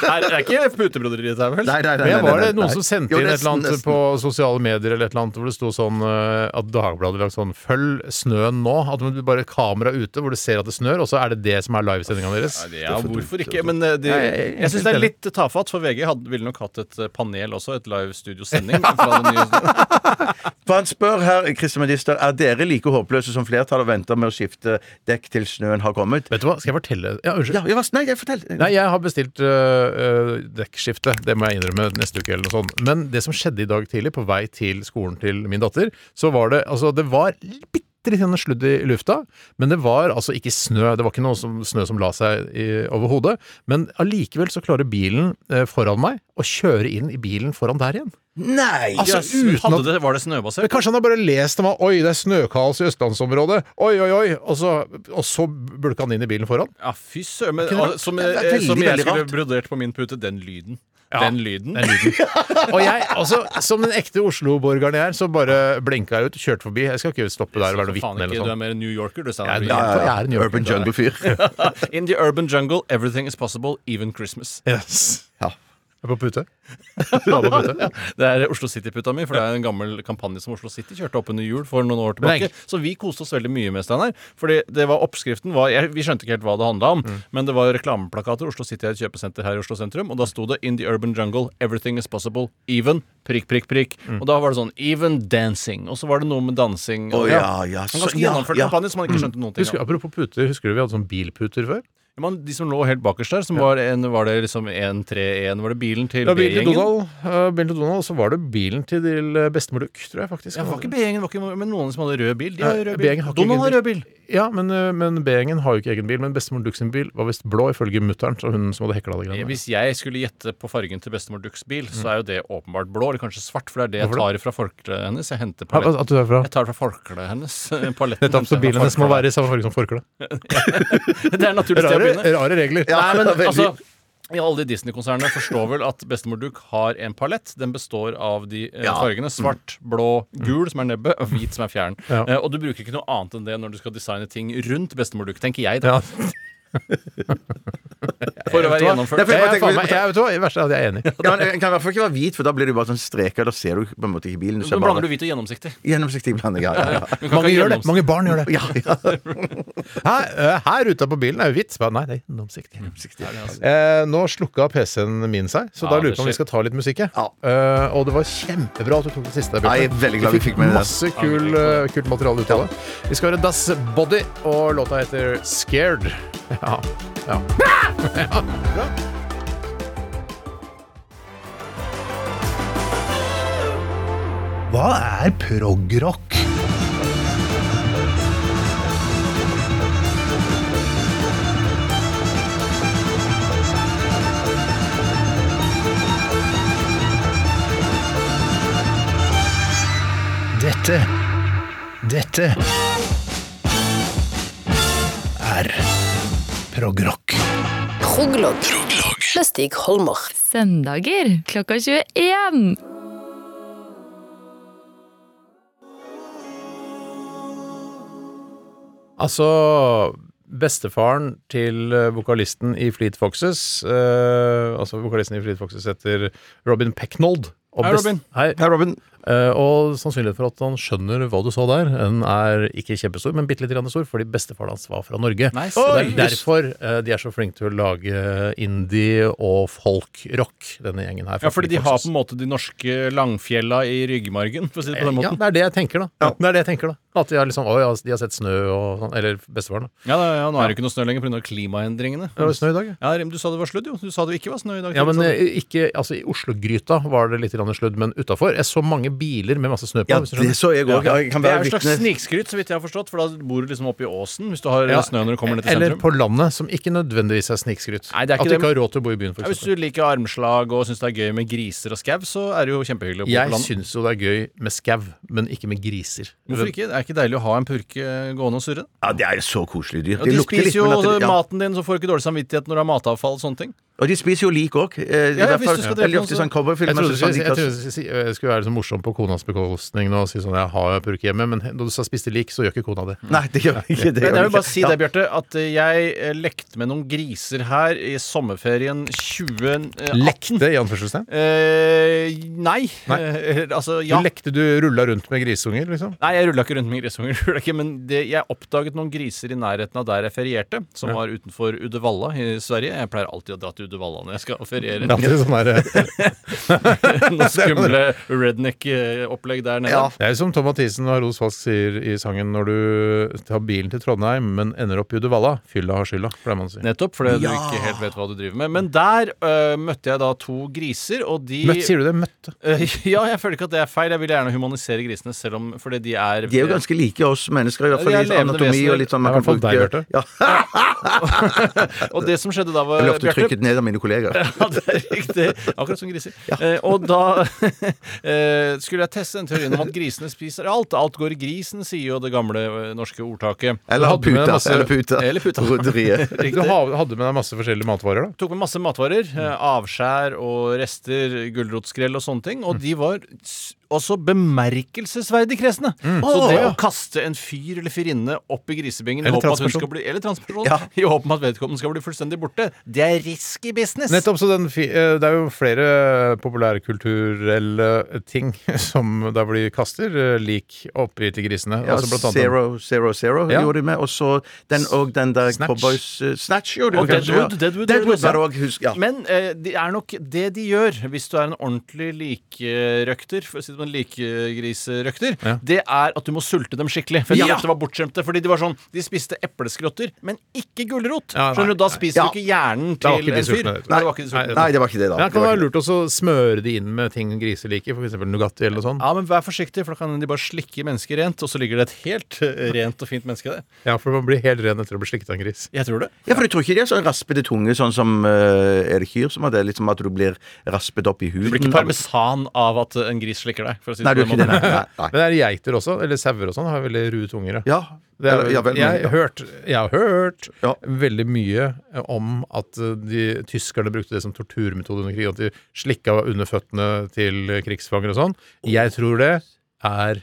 Nei, Det er ikke putebroderiet der, vel?
Nei, nei, nei,
Men
nei,
var
nei,
det noen
nei.
som sendte
Jo,
inn et
nesten,
eller annet
nesten.
på sosiale medier eller et eller annet, hvor det sto sånn eh, at Dagbladet lagt sånn 'Følg snøen nå'. At du bare har kamera ute hvor du ser at det snør, og så er det det som er livesendinga deres.
Nei, det er- hvorfor ikke? Men eh, det,
Nei, jeg- jeg-
jeg syns det er litt tafatt, for VG hadde, ville nok hatt et eh, panel også, et live studiosending. fra den nye-
For han spør her, Christer Medister, er dere like håpløse som flertallet og venter med å skifte dekk til snøen har kommet?
Vet du hva, skal jeg fortelle Ja, unnskyld.
Ja, ja, hva- nei, jeg fortell.
Nei, jeg har bestilt øh, øh, dekkskifte. Det må jeg innrømme neste uke eller noe sånt. Men det som skjedde i dag tidlig, på vei til skolen til min datter, så var det Altså, det var bitte litt grann sludd i lufta, men det var altså ikke snø. Det var ikke noe som, snø som la seg i, over hodet. Men allikevel så klarer bilen eh, foran meg å kjøre inn i bilen foran der igjen.
Nei!
Altså,
Jøss,
uten
hadde
at
det, Var det
men
snøbasert?
Kanskje han har bare lest om at Oi, det er snøkaos i østlandsområdet. Oi, oi, oi. Og så, og så bulka han inn i bilen foran.
Ja, fy søren. men,
Kunne vært-
ah, Som,
det er
eh,
veldig,
som jeg
veldig
skulle
rart.
brodert på min pute. Den lyden.
Ja,
Den lyden.
Og jeg, altså, som den ekte Oslo-borgeren jeg er, så bare blinka jeg ut, kjørte forbi. Jeg skal ikke stoppe der og være noe
Faen
vitne
ikke,
eller
du er
noe sånt.
mer en New Yorker, du. Steinar.
Jeg er- jeg er- jeg er en New Yorker.
Urban Jungle-fyr.
In the urban jungle, everything is possible, even Christmas.
Yes.
Ja.
Jeg er på pute. Du er på pute.
Det er Oslo City-puta mi, for det er en gammel kampanje som Oslo City kjørte opp under jul for noen år tilbake.
Men
Så vi koste oss veldig mye med Steinar. Fordi det var oppskriften var jeg, Vi skjønte ikke helt hva det handla om, men det var reklameplakater. Oslo City er et kjøpesenter her i Oslo sentrum, og da sto det In the urban jungle, everything is possible, even prikk, prikk, prikk. Og da var det sånn Even dancing. Og så var det noe med dansing.
Å,
og-
ja, ja,
En
så-
ganske
ja,
gjennomført
ja.
kampanje som man ikke skjønte noen ting av.
Husker, apropos puter, husker du vi hadde sånn bilputer før?
Ja, Men de som lå helt bakerst der, som var, en, var det liksom 1-3-1 Var det bilen til
Ja, bilen til
B-gjengen?
Donald, eh, bilen til Donald og så var det bilen til Dil- bestemor Luck, tror jeg faktisk.
Ja, det var ikke B-gjengen, det var ikke- men noen som hadde rød bil. De har
Nei,
rød bil.
B-gjengen har ikke
Donald har
egen
rød bil.
Ja, men, eh, men B-gjengen har jo ikke egen bil. Men bestemor Dux sin bil var visst blå, ifølge mutter'n, så hun som hadde hekla de greiene. der.
Hvis jeg skulle gjette på fargen til bestemor Dux bil, så er jo det åpenbart blå, eller kanskje svart, for det er det jeg
Hvorfor
tar fra forkleet hennes. Jeg henter
Ja, altså,
palett-
At du er fra
Jeg tar fra forkleet hennes. eh, Paletten
Nettopp, så
henter jeg
bilen
fra
hennes må
forkleet.
være i samme farge som forkleet.
Det er naturlig sted å
Rare,
begynne.
rare regler.
Nei, men
Veldig.
altså i alle de Disney-konsernene forstår vel at bestemor Duck har en palett. Den består av de eh, fargene svart, blå, gul, som er nebbet, og hvit, som er fjæren.
Ja.
Eh, og du bruker ikke noe annet enn det når du skal designe ting rundt bestemor Duck, tenker jeg, da.
Ja.
For å være gjennomført.
Det er fordi
Jeg,
jeg
er faen meg,
tenker-
jeg, vet du hva, det verste er at jeg er enig.
Ja, men Den kan i hvert fall ikke være hvit, for da blir det jo bare sånn streker. Da ser du på en måte ikke bilen. Du
Så
ser
blander du
bare
hvit og gjennomsiktig.
gjennomsiktig blanding. Ja, ja, ja.
Du kan
Mange
ikke ha
gjør det.
gjennoms-
Mange barn gjør det.
Ja, ja.
Her, eh, her ute på bilen er jo hvitt. Så bare, Nei, det er gjennomsiktig. Eh, nå slukka PC-en min seg, så
Ja,
da
det
lurer jeg på om vi
skjer.
skal ta litt musikk. jeg.
Ja.
Eh, og det var kjempebra at du tok det siste. der, Bjarte.
Jeg er veldig glad vi fikk med det.
masse kul, eh, kult materiale ut av det. Vi skal høre Das Body, og låta heter Scared. Ja. ja.
Hva er prog-rock? Dette Dette er prog-rock.
Proglog. Med Stig Holmer.
Søndager klokka 21.
Altså Bestefaren til eh, vokalisten i Fleet Foxes eh, Altså vokalisten i Fleet Foxes heter Robin Pecknold. og
Hei,
best-
Robin.
Hei.
Hei, Robin.
Eh, og sannsynligheten for at han skjønner hva du så der, den er ikke kjempestor, men bitte litt grann stor, fordi bestefaren hans var fra Norge.
Nice.
Og
Oi,
det er derfor eh, de er så flinke til å lage eh, indie og folkrock, denne gjengen her. fra
Ja, fordi de
Fleet
har
Foxes.
på en måte de norske langfjella i ryggmargen, for å si det på den
Eh, ja,
måten.
det er det jeg tenker, da. Det er det jeg tenker da At de har, liksom, å, ja, de har sett snø og sånn. Eller bestefaren, da.
Ja, da, ja nå er det ikke noe snø lenger pga. klimaendringene.
Det var snø i dag, ja.
Ja, Rim, du sa det var sludd, jo. Du sa det ikke var snø i dag.
Ja, men
Sa du?
eh, ikke, altså I Oslo-gryta var det litt grann sludd, men utafor. Jeg så mange biler med masse snø på.
Ja,
hvis du skjønner.
det så jeg òg. Jeg kan
Det er
være
en slags
vitne.
snikskryt, så vidt jeg har forstått, for da bor du liksom oppe i åsen hvis du har
Ja,
snø når du kommer ned til
Eller
sentrum.
på landet, som ikke nødvendigvis er snikskryt.
Nei, det er
At
ikke
du
det, men-
ikke har råd til å bo i byen,
Ja, hvis
f.eks.
du liker armslag og syns det er gøy med griser og skau, så er det jo kjempehyggelig å bo på
Jeg
landet.
syns jo det er gøy med skau, men ikke med griser.
Hvorfor ikke? Det er ikke deilig å ha en purke gående og surre.
Ja, det er så koselig dyr.
Ja, de spiser jo
men at det-
også
ja.
maten din, så får du ikke dårlig samvittighet når du har matavfall og sånne ting.
Og de spiser jo lik òg.
ja, hvis du skal drepe noen,
Veldig ofte i
så-
sånn
Jeg
cowboyfilmer.
trodde du
så
skulle,
sånn
si-
de
jeg
tar-
trodde du skulle, si- eh, skulle være så morsom på konas bekostning nå og si sånn 'jeg har jo purke hjemme', men når du sa 'spiste lik', så gjør ikke kona det.
Nei, det gjør vi ikke. Det
Men jeg
gjør vi
vil bare
ikke.
si det, Bjarte, at eh, jeg eh, lekte med noen griser her i sommerferien 2018.
Lekte, i anførselstegn.
Eh, nei.
Nei.
Eh, altså,
Du
ja.
Lekte du rulla rundt med grisunger, liksom?
Nei, jeg rulla ikke rundt med grisunger. jeg rullet Ikke, men det, jeg oppdaget noen griser i nærheten av der jeg ferierte, som var utenfor Uddevalla i Sverige. Jeg pleier alltid å dra til Uddevalla når jeg skal feriere.
Det er alltid sånn der, eh,
Noen skumle redneck-opplegg der nede.
Ja.
Det er jo som Tom Mathisen og Ros Falsk sier i sangen når du tar bilen til Trondheim, men ender opp i Uddevalla. Fylla har skylda, pleier man å si.
Nettopp, fordi du ikke helt vet hva du driver med. Men der eh, møtte jeg da to griser, og de
Møtt, sier du det? Møtte.
Eh, ja, jeg føler ikke at det er feil. Jeg vil gjerne humanisere grisene, selv om fordi de er
De er jo ganske like oss mennesker, i hvert
Ja,
fall
de er
i
levende
anatomi
vesener.
og litt sånn man
Det er i hvert
kan
fall
bruke
deg, Bjarte.
Ja,
Eh, Og det som skjedde da, var
Jeg ble ofte
Bjarte-
trykket ned av mine kollegaer.
Ja, det er riktig. Akkurat som griser. Eh, og da eh, skulle jeg teste den teorien om at grisene spiser alt. Alt går i grisen, sier jo det gamle eh, norske ordtaket.
Eller
hadde med
puta.
masse-
Eller puta.
Eller puta.
Roderiet.
Du
Riktig.
ha- hadde med deg masse forskjellige matvarer, da.
Tok med masse matvarer.
Mm.
eh, Avskjær og rester, gulrotskrell og sånne ting. Og de var s- også bemerkelsesverdig kresne.
Mm.
Så det å kaste en fyr eller fyrinne opp i grisebingen i
Eller
håp om at hun
transperson.
skal bli, eller transperson,
Ja.
i håp om at vedkommende skal bli fullstendig borte, det er risky business.
Nettopp, så den, fi- eh, Det er jo flere populærkulturelle ting som der hvor de kaster eh, lik oppi til grisene.
Ja,
altså blant annet den-
Zero Zero Zero
Ja.
gjorde de med. Og så den, og den der
Snatch.
Cowboys eh, Snatch gjorde de
Og
kanskje,
Deadwood,
ja.
Deadwood,
Deadwood
gjorde
var
det
òg, husk. Ja.
Men eh, det er nok det de gjør, hvis du er en ordentlig likerøkter, for å si det sånn likegrisrøkter,
Ja.
det er at du må sulte dem skikkelig. For jeg
Ja.
tror dette var bortskjemte, fordi de var sånn De spiste epleskrotter, men ikke gulrot.
Ja, nei,
Skjønner du, Da
nei.
spiser
Ja.
du ikke hjernen
Da var ikke
til
de
en fyr.
sultne,
Nei,
det tror jeg.
det var ikke de
Nei,
sultne.
Nei, det var ikke det, da.
Ja, det
Det
kan
var
være
ikke det.
lurt også å smøre de inn med ting griser liker, for eksempel Nugatti eller noe sånt.
Ja, men Vær forsiktig, for da kan de bare slikke mennesket rent, og så ligger det et helt eh, rent og fint menneske der.
Ja, for man blir helt ren etter å bli slikket av en gris.
Jeg tror det.
Ja, for du tror ikke de er sånn raspete tunge, sånn som eh, er det kyr som har det? Litt som at du blir raspet opp i huden.
Du blir ikke parmesan av at en gris slikker deg. For å si
Nei, du
det
er
på
ikke
den
det.
måten.
Nei, nei, nei.
Men det er geiter også, eller sauer og sånn, har veldig rue tunger.
Ja.
Det er,
Eller, ja vel,
jeg,
men-
har hørt, jeg har hørt
Ja.
veldig mye om at eh, de tyskerne brukte det som torturmetode under krigen. At de slikka under føttene til krigsfanger og sånn. Jeg tror det er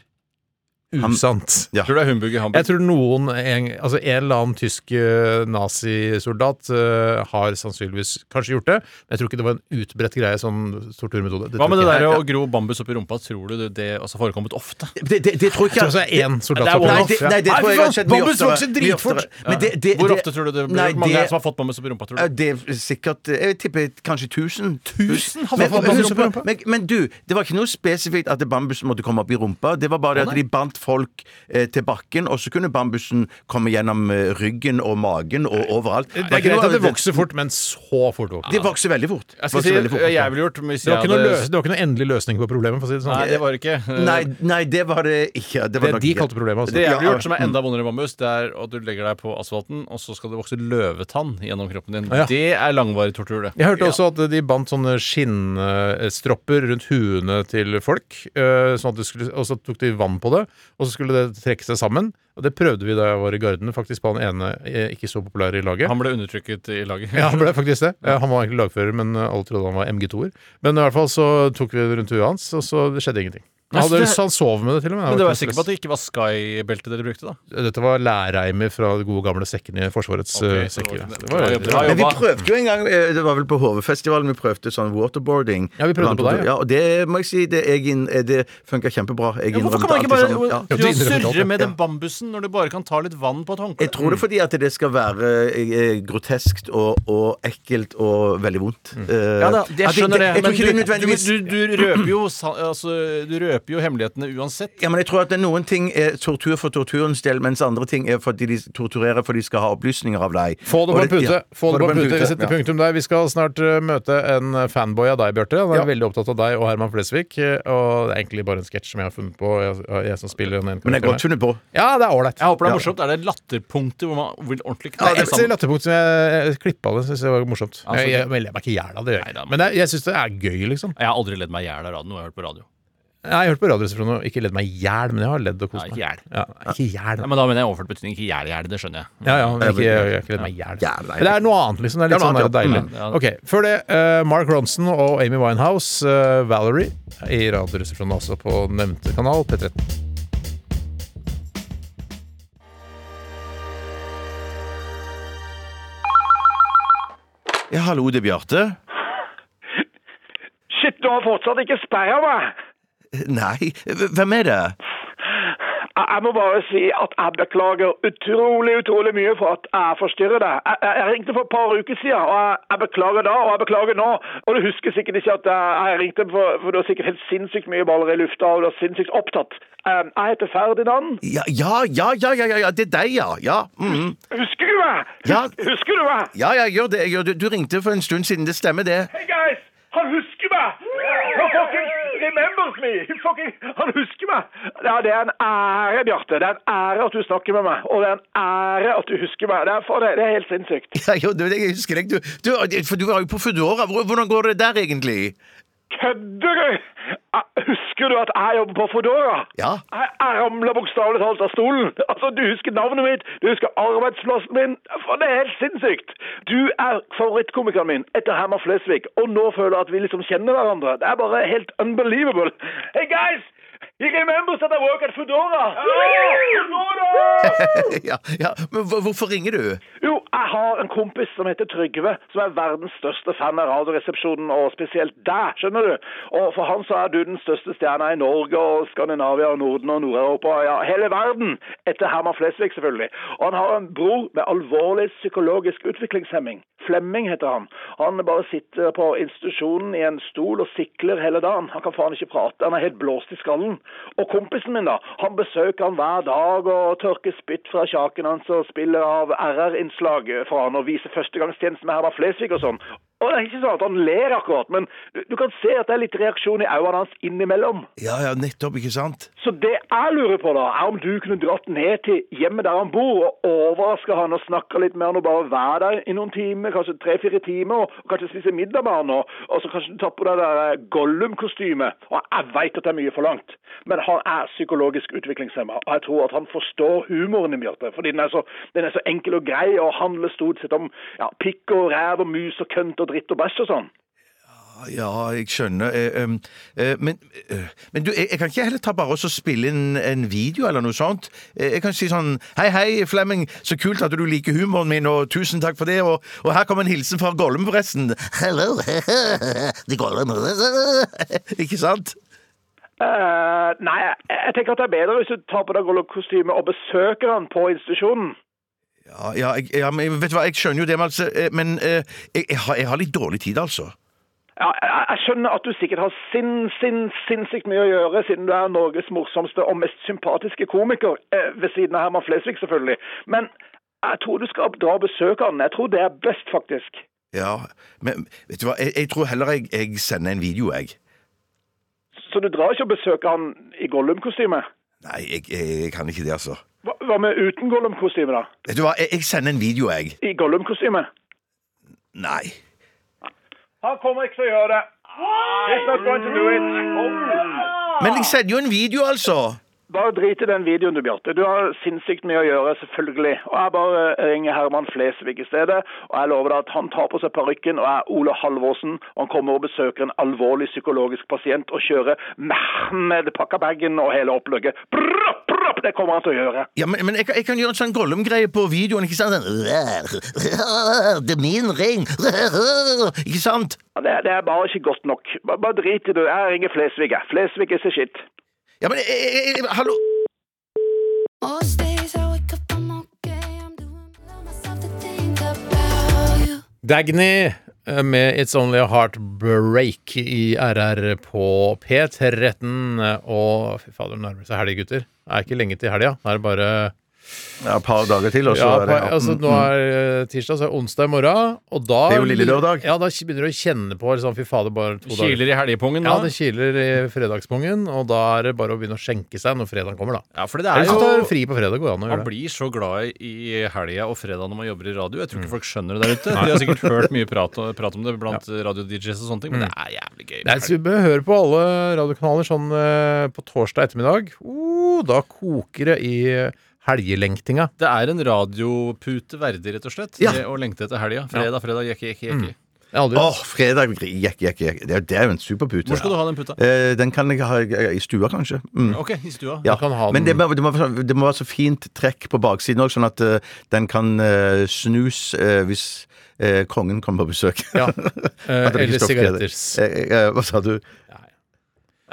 usant.
Ja.
Tror du det er humbug i
Jeg
Hamburg?
tror noen en, altså en eller annen tysk eh, nazisoldat eh, har sannsynligvis kanskje gjort det, men jeg tror ikke det var en utbredt greie som torturmetode.
Hva med det
tror
der
ikke
å gro bambus oppi rumpa? Tror du det, det altså forekommet ofte?
Det, det, det tror
Jeg
jeg ikke
tror også det er én soldat
Det er
som
Nei,
har
one-off,
det,
fått-
nei, det
Ja.
tror jeg
Nei,
har skjedd mye
Bambus
oftere.
vokser
Mye oftere.
dritfort!
Men det- det-
Hvor
det-
ofte tror du det blir
Nei,
mange
det-
som har fått bambus oppi rumpa? tror
Ja,
du?
Det er sikkert Jeg tipper kanskje 1000.
Tusen har
Men,
fått bambus opp i rumpa?
men, men du, det var ikke noe spesifikt at bambus måtte komme opp i rumpa. Det var bare det at de bandt folk eh, til bakken, og så kunne bambusen komme gjennom eh, ryggen og magen og overalt.
Det er greit at det vokser fort, men så fort vokser det.
Det vokser veldig fort.
Jeg skal
Vokser
si
veldig fort.
hva jeg ville gjort
Det
hvis jeg
var, ikke noe løs,
hadde
det var ikke noe endelig løsning på problemet, for å si det sånn.
Nei, det var det ikke. eh,
Nei, nei, det var det ikke. Det var
det
nok
de
ikke.
kalte problemet, altså.
Det jeg
Ja, Mm.
ville gjort som er enda vondere enn bambus, det er at du legger deg på asfalten, og så skal det vokse løvetann gjennom kroppen din.
Ja.
Det er langvarig tortur, det.
Jeg hørte også at de bandt sånne skinnsstropper rundt huene til folk. eh, Sånn at det skulle, og så tok de vann på det, og så skulle det trekke seg sammen. Og det prøvde vi da jeg var i Garden, faktisk på han ene eh, ikke så populære i laget.
Han ble undertrykket i laget.
Ja, han ble faktisk det. Eh, Han var egentlig lagfører, men eh, alle trodde han var MG2-er. Men i hvert fall så tok vi det rundt huet hans, og så det skjedde ingenting.
Men
Han,
så
hadde,
det-
så han sov med det, til og med.
Men det var jeg
ikke noe
sikker på at det ikke var Sky-beltet dere brukte, da.
stress. Dette var lærreimer fra de gode gamle sekkene i Forsvarets
Ok,
eh,
så det var
sekker.
ikke det.
Det var-
Bra jobba.
Men vi prøvde jo en gang, eh, det var vel på HV-festivalen, vi prøvde sånn waterboarding.
Ja, vi prøvde på deg, ja.
Ja, og det må jeg si, det, jeg inn- eh, det funka kjempebra. Jeg
Ja, hvorfor kan man ikke
innrømte alltid
bare
sånn, ja.
Ja,
du
det innrømmer alt,
surre
ja.
med den bambusen når du bare kan ta litt vann på et
Jeg
håndkle?
tror det er fordi at det skal være eh, groteskt og, og ekkelt og veldig vondt. Eh,
Ja, da, jeg
at
skjønner det,
Jeg tror ikke det er
men du,
nødvendigvis
du, du, du, røper jo, sa- altså, du røper jo hemmelighetene uansett.
ja, men jeg tror at det er noen ting er tortur for torturens del, mens andre ting er fordi de torturerer for de skal ha opplysninger av deg.
Få det
Og
på en pute!
ja,
Få det på en pute. Vi
ja.
setter punktum der. Vi skal snart eh, møte en fanboy av deg, Bjarte. Han er
Ja.
veldig opptatt av deg og Herman Flesvig. eh, Og det er egentlig bare en sketsj som jeg har funnet på. Jeg, jeg som spiller den ene
Men jeg
karakteren
godt funnet på.
her. Ja, det er ålreit.
Jeg håper det er morsomt. Er det latterpunktet hvor man vil ordentlig
Nei,
knalle
jeg vil si
sammen?
latterpunkt som jeg klippa det. Synes jeg var morsomt.
så
Jeg, jeg,
gøy.
jeg ler meg ikke i hjel av det. gjør jeg
Neida,
ikke. Men jeg, jeg syns det er gøy, liksom.
Jeg har aldri ledd meg i hjel av radio, noe jeg har hørt på radio.
Jeg har hørt på Radioresepsjonen og ikke ledd meg i hjel, men jeg har ledd og
Nei,
kost
ikke
meg.
hjel.
Ja, ikke i hjel.
Nei, men da mener jeg overført betydning. Ikke hjel-hjel, det skjønner jeg.
Ja, ja, men ikke, jeg har ikke ledd meg i hjel.
Ja, nei.
Men det er noe annet, liksom. Det er litt
Det er
sånn
noe
der deilig.
annet,
ja. Mm.
Ok, Før det, eh, Mark Ronson og Amy Winehouse, eh, Valerie, i Radioresepsjonen altså på nevnte kanal, P13.
Ja, hallo, det er Bjarte.
Shit, du har fortsatt ikke sperra meg!
Nei, hvem er det?
Jeg jeg må bare si at jeg beklager utrolig, utrolig mye for at jeg forstyrrer deg. Jeg, jeg, jeg ringte for et par uker siden, og jeg, jeg beklager da, og jeg beklager nå. Og du husker sikkert ikke at jeg, jeg ringte, for, for du har sikkert helt sinnssykt mye baller i lufta, og du er sinnssykt opptatt. Eh, Jeg heter Ferdinand.
Ja, ja, ja, ja, ja, ja, ja, det er deg, ja. Ja, mhm.
Husker du meg? Hus-
Ja.
Husker du meg?
Ah. ja, ja gjør det. jeg Gjør det. Du ringte for en stund siden, det stemmer det.
Hey guys, han husker meg! Han fucking remembers me! He Fucking, han husker meg! Ja, det er en ære, Bjarte. Det er en ære at du snakker med meg. Og det er en ære at du husker meg. Det er, faen, det- det er helt sinnssykt.
Ja, jo, det- jeg husker deg. Du, du, for du var jo på Foodora. Hvor- Hvordan går det der, egentlig?
Kødder du? Jeg- Husker du at jeg jobber på Foodora?
Ja.
Jeg, jeg ramler bokstavelig talt av stolen. Altså, Du husker navnet mitt, du husker arbeidsplassen min. For Det er helt sinnssykt. Du er favorittkomikeren min etter Herman Flesvig, og nå føler jeg at vi liksom kjenner hverandre. Det er bare helt unbelievable. Hey guys! He remembers that I work at Foodora! Foodora!
ja, ja. Men hvor- hvorfor ringer du?
Jo, Jeg har en kompis som heter Trygve, som er verdens største fan av Radioresepsjonen, og spesielt deg, skjønner du. Og for han så er du den største stjerna i Norge og Skandinavia og Norden og Nord-Europa, ja, hele verden. Etter Herman Flesvig, selvfølgelig. Og han har en bror med alvorlig psykologisk utviklingshemming. Flemming heter han. Han bare sitter på institusjonen i en stol og sikler hele dagen. Han kan faen ikke prate, han er helt blåst i skallen. Og kompisen min, da, han besøker han hver dag og tørker spytt fra kjaken hans og spiller av RR-innslag for han og viser førstegangstjenesten med Herman Flesvig og sånn. Og det er ikke sånn at han ler akkurat, men du, du kan se at det er litt reaksjon i øynene hans innimellom.
Ja, ja, nettopp, ikke sant?
Så det jeg lurer på, da, er om du kunne dratt ned til hjemmet der han bor, og overraska han og snakka litt med han og bare være der i noen timer, kanskje tre-fire timer, og kanskje spise middag med han, og, og så kanskje du tar på deg det der eh, Gollum-kostymet. Og jeg veit at det er mye forlangt, men han er psykologisk utviklingshemma, og jeg tror at han forstår humoren i Bjarte, fordi den er, så, den er så enkel og grei, og handler stort sett om ja, pikk og ræv og mus og kønt og dritt og bæsj og sånn.
Ah, Ja, jeg skjønner. Eh, em, eh, men eh, men du, jeg, jeg kan ikke heller ta bare og så spille inn en video eller noe sånt. Eh, Jeg kan si sånn Hei, hei, Flemming. Så kult at du liker humoren min, og tusen takk for det. Og, og her kommer en hilsen fra Gollum, forresten. Hello, the Gollum. ikke sant?
Eh, nei, jeg, jeg tenker at det er bedre hvis du tar på deg kostyme og besøker han på institusjonen.
Ja, ja, jeg, ja, men vet du hva, jeg skjønner jo det, men, altså, eh, men eh, jeg, jeg, har, jeg har litt dårlig tid, altså.
Ja, jeg, jeg skjønner at du sikkert har sin, sin, sinnssykt mye å gjøre, siden du er Norges morsomste og mest sympatiske komiker, eh, ved siden av Herman Flesvig, selvfølgelig. Men jeg tror du skal dra og besøke han. Jeg tror det er best, faktisk.
Ja, men vet du hva, jeg, jeg tror heller jeg, jeg sender en video, jeg.
Så du drar ikke og besøker han i Gollum-kostyme?
Nei, jeg, jeg, jeg kan ikke det, altså.
Hva, hva med uten Gollum-kostyme, da?
Vet du hva, jeg, jeg sender en video, jeg.
I Gollum-kostyme?
Nei.
Han kommer ikke til å gjøre det. He's not going to do it.
Men jeg sender jo en video, altså!
Bare drit i den videoen du, Bjarte. Du har sinnssykt mye å gjøre, selvfølgelig. Og jeg bare eh, ringer Herman Flesvig i stedet, og jeg lover deg at han tar på seg parykken og er Ole Halvorsen, og han kommer og besøker en alvorlig psykologisk pasient og kjører Mehmed pakkabagen og hele opplegget. Brrrr, brrrr, det kommer han til å gjøre.
Ja, men, men jeg, kan- jeg kan gjøre en sånn Gollum-greie på videoen, ikke sant? Den, det er min ring! Ikke sant?
Ja, Det, det er bare ikke godt nok. Bare, bare drit i det. Jeg ringer Flesvig, jeg. Flesvig is a shit.
Ja, men jeg, jeg, jeg, hallo!
Most days I wake up, I'm okay. I'm doing well myself to think about you.
Dagny eh, med It's Only a Heartbreak i RR på P13. eh, Og fy fader, det nærmer seg helg, gutter. Det er ikke lenge til helga. Det er det bare
Ja, et par dager til, og
ja, på, altså, Nå er eh, tirsdag, så er det onsdag i morgen, og da
Mm, Det er jo lille lørdag.
Ja, da begynner du å kjenne på liksom, Fy fader, bare to dager.
Kiler i helgepungen,
Ja,
da.
det kiler i fredagspungen, og da er det bare å begynne å skjenke seg når fredagen kommer, da.
Ja, for det er
Eller så tar du
jo
fri på fredag, går det an å
man
gjøre det.
blir så glad i helga og fredag når man jobber i radio. Jeg tror ikke folk skjønner det der ute. De har sikkert hørt mye prat, prat om det blant radio-DJs og sånne ting, men det er jævlig gøy.
Nei, så vi bør høre på alle radiokanaler sånn eh, på torsdag ettermiddag. Oh, da koker det i eh, helgelengtinga.
Det er en radiopute verdig, rett og slett,
Ja.
det å lengte etter helga. Fredag, fredag, jekke, jekke, jekke.
Jeg har aldri
Mm. Åh, fredag jekk, jekk, jekk. Det er jo- det er jo en superpute.
Hvor skal du ha den puta?
Eh, den kan jeg ha i stua, kanskje. Mm.
Ok, i stua.
Ja.
kan ha
Men
den-
det må, det, må, være sånn- det må være så fint trekk på baksiden òg, sånn at eh, den kan eh, snus eh, hvis eh, kongen kommer på besøk.
Ja.
At det
Eh,
blir
eller
stoppkjede.
sigaretter.
Eh, eh, hva sa du?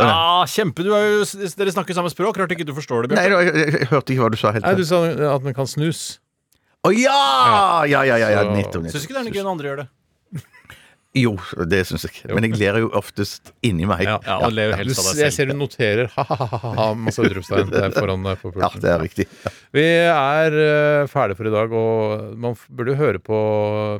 Ja, kjempe! Du er jo, dere snakker samme språk. Rart ikke du forstår det,
Nei,
Bjørn.
jeg, jeg, jeg hørte ikke hva du sa helt.
Nei,
Å
du sa at den kan snus.
ja! Ja, ja, ja. ja,
Så-
nettopp. nettopp.
Syns ikke det er noe gøy når andre gjør det.
Jo, det syns jeg. Men jeg ler jo oftest inni meg.
Ja,
Ja, og lever
Du,
helst av
jeg
deg selv.
ser du noterer ha-ha-ha, masse utropstegn der foran deg på
Ja,
pulten.
det er riktig.
Vi er eh, ferdige for i dag, og man f- burde jo høre på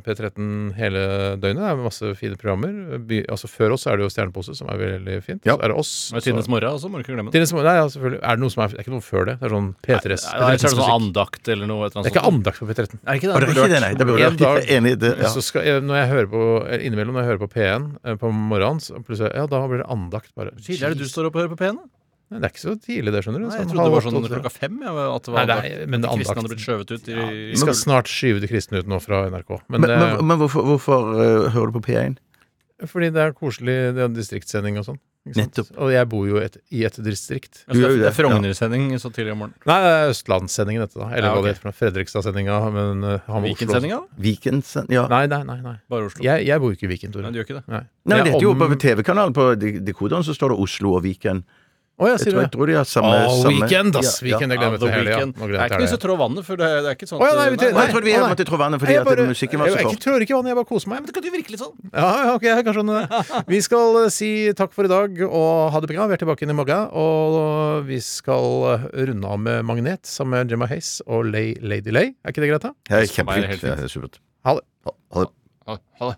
P13 hele døgnet. Det er masse fine programmer. By, altså Før oss er det jo Stjernepose, som er veldig fint.
Ja.
Så er det oss.
Det er Tidenes morgen også, må du ikke glemme det.
Tidens morgen. Nei, ja, selvfølgelig. Er det noe som er, det er ikke noe før det? Det er sånn P3s.
Nei, Ellers er det
P13s
sånn
musikk.
andakt eller noe.
Det er
et eller annet
ikke
sånt.
andakt på P13.
Er det ikke
Og det er ikke det, nei. Det burde
En dag-
vært enig i det. Ja.
Så skal jeg, når jeg hører på, innimellom når jeg hører på P1 eh, på morgenen, så plutselig Ja, da blir det andakt, bare.
Tidlig er det du står opp og hører på P1? da?
Nei, Det er ikke så tidlig, det, skjønner du.
Nei,
Sånn
jeg trodde det var
halv
sånn
åtte, åtte.
klokka fem. Ja, at det
Nei,
var
det er-
andakt.
men det er
At kristne hadde
andakt.
blitt skjøvet ut i,
Vi
i
skal snart skyve de kristne ut nå fra NRK. Men,
Men,
det,
men, men hvorfor, hvorfor eh, hører du på P1?
fordi det er koselig det er distriktssending og sånn. ikke sant?
Nettopp.
Og jeg bor jo et, i et distrikt.
Altså,
Du
det er,
gjør jo
det er
det, ja.
Frogner-sending så tidlig om morgenen.
Nei, det er Østlandssendingen dette, da. Eller
Ja,
hva det
ok.
heter. for noe. Fredrikstad-sendinga. Men eh, han var
Viken-sendinga?
Vikensen Ja.
Oslo. Nei, nei, nei. nei.
Bare Oslo.
Jeg, jeg bor jo ikke i Viken,
Nei,
Tore.
det gjør ikke det.
Nei.
Nei,
Jeg
men dette er jo
om-
på TV-kanalen. På de- dekoderen så står det Oslo og Viken.
Å, ja, sier
Jeg tror,
du
jeg
det?
tror de har samme,
Å,
samme
weekend, ass!
Ja, ja.
Weekend, jeg
Ja,
glemmer
The
til helga.
Weekend. Det er ikke noe vits å trå vannet, for det er, det er ikke
Å,
sånn
ja, nei, vi trener-
Nei, jeg tror vi
Å, nei.
måtte trå vannet fordi
Jeg
at
bare-
musikken var så
jeg-
kort.
Jeg tror ikke vannet, jeg bare koser meg.
Men det kan jo virke litt sånn.
Ja, ok, jeg kan skjønne det. Vi skal eh, si takk for i dag og ha det bra. Vi er tilbake inn i morgen, og vi skal eh, runde av med Magnet sammen med Gemma Hayes og Lay Lady Lay. Er ikke det greit, da?
Ja,
For meg er det helt
Kjempefint. Ja, det er supert.
Ha det.
Ha- Ha det.
Ha ha det.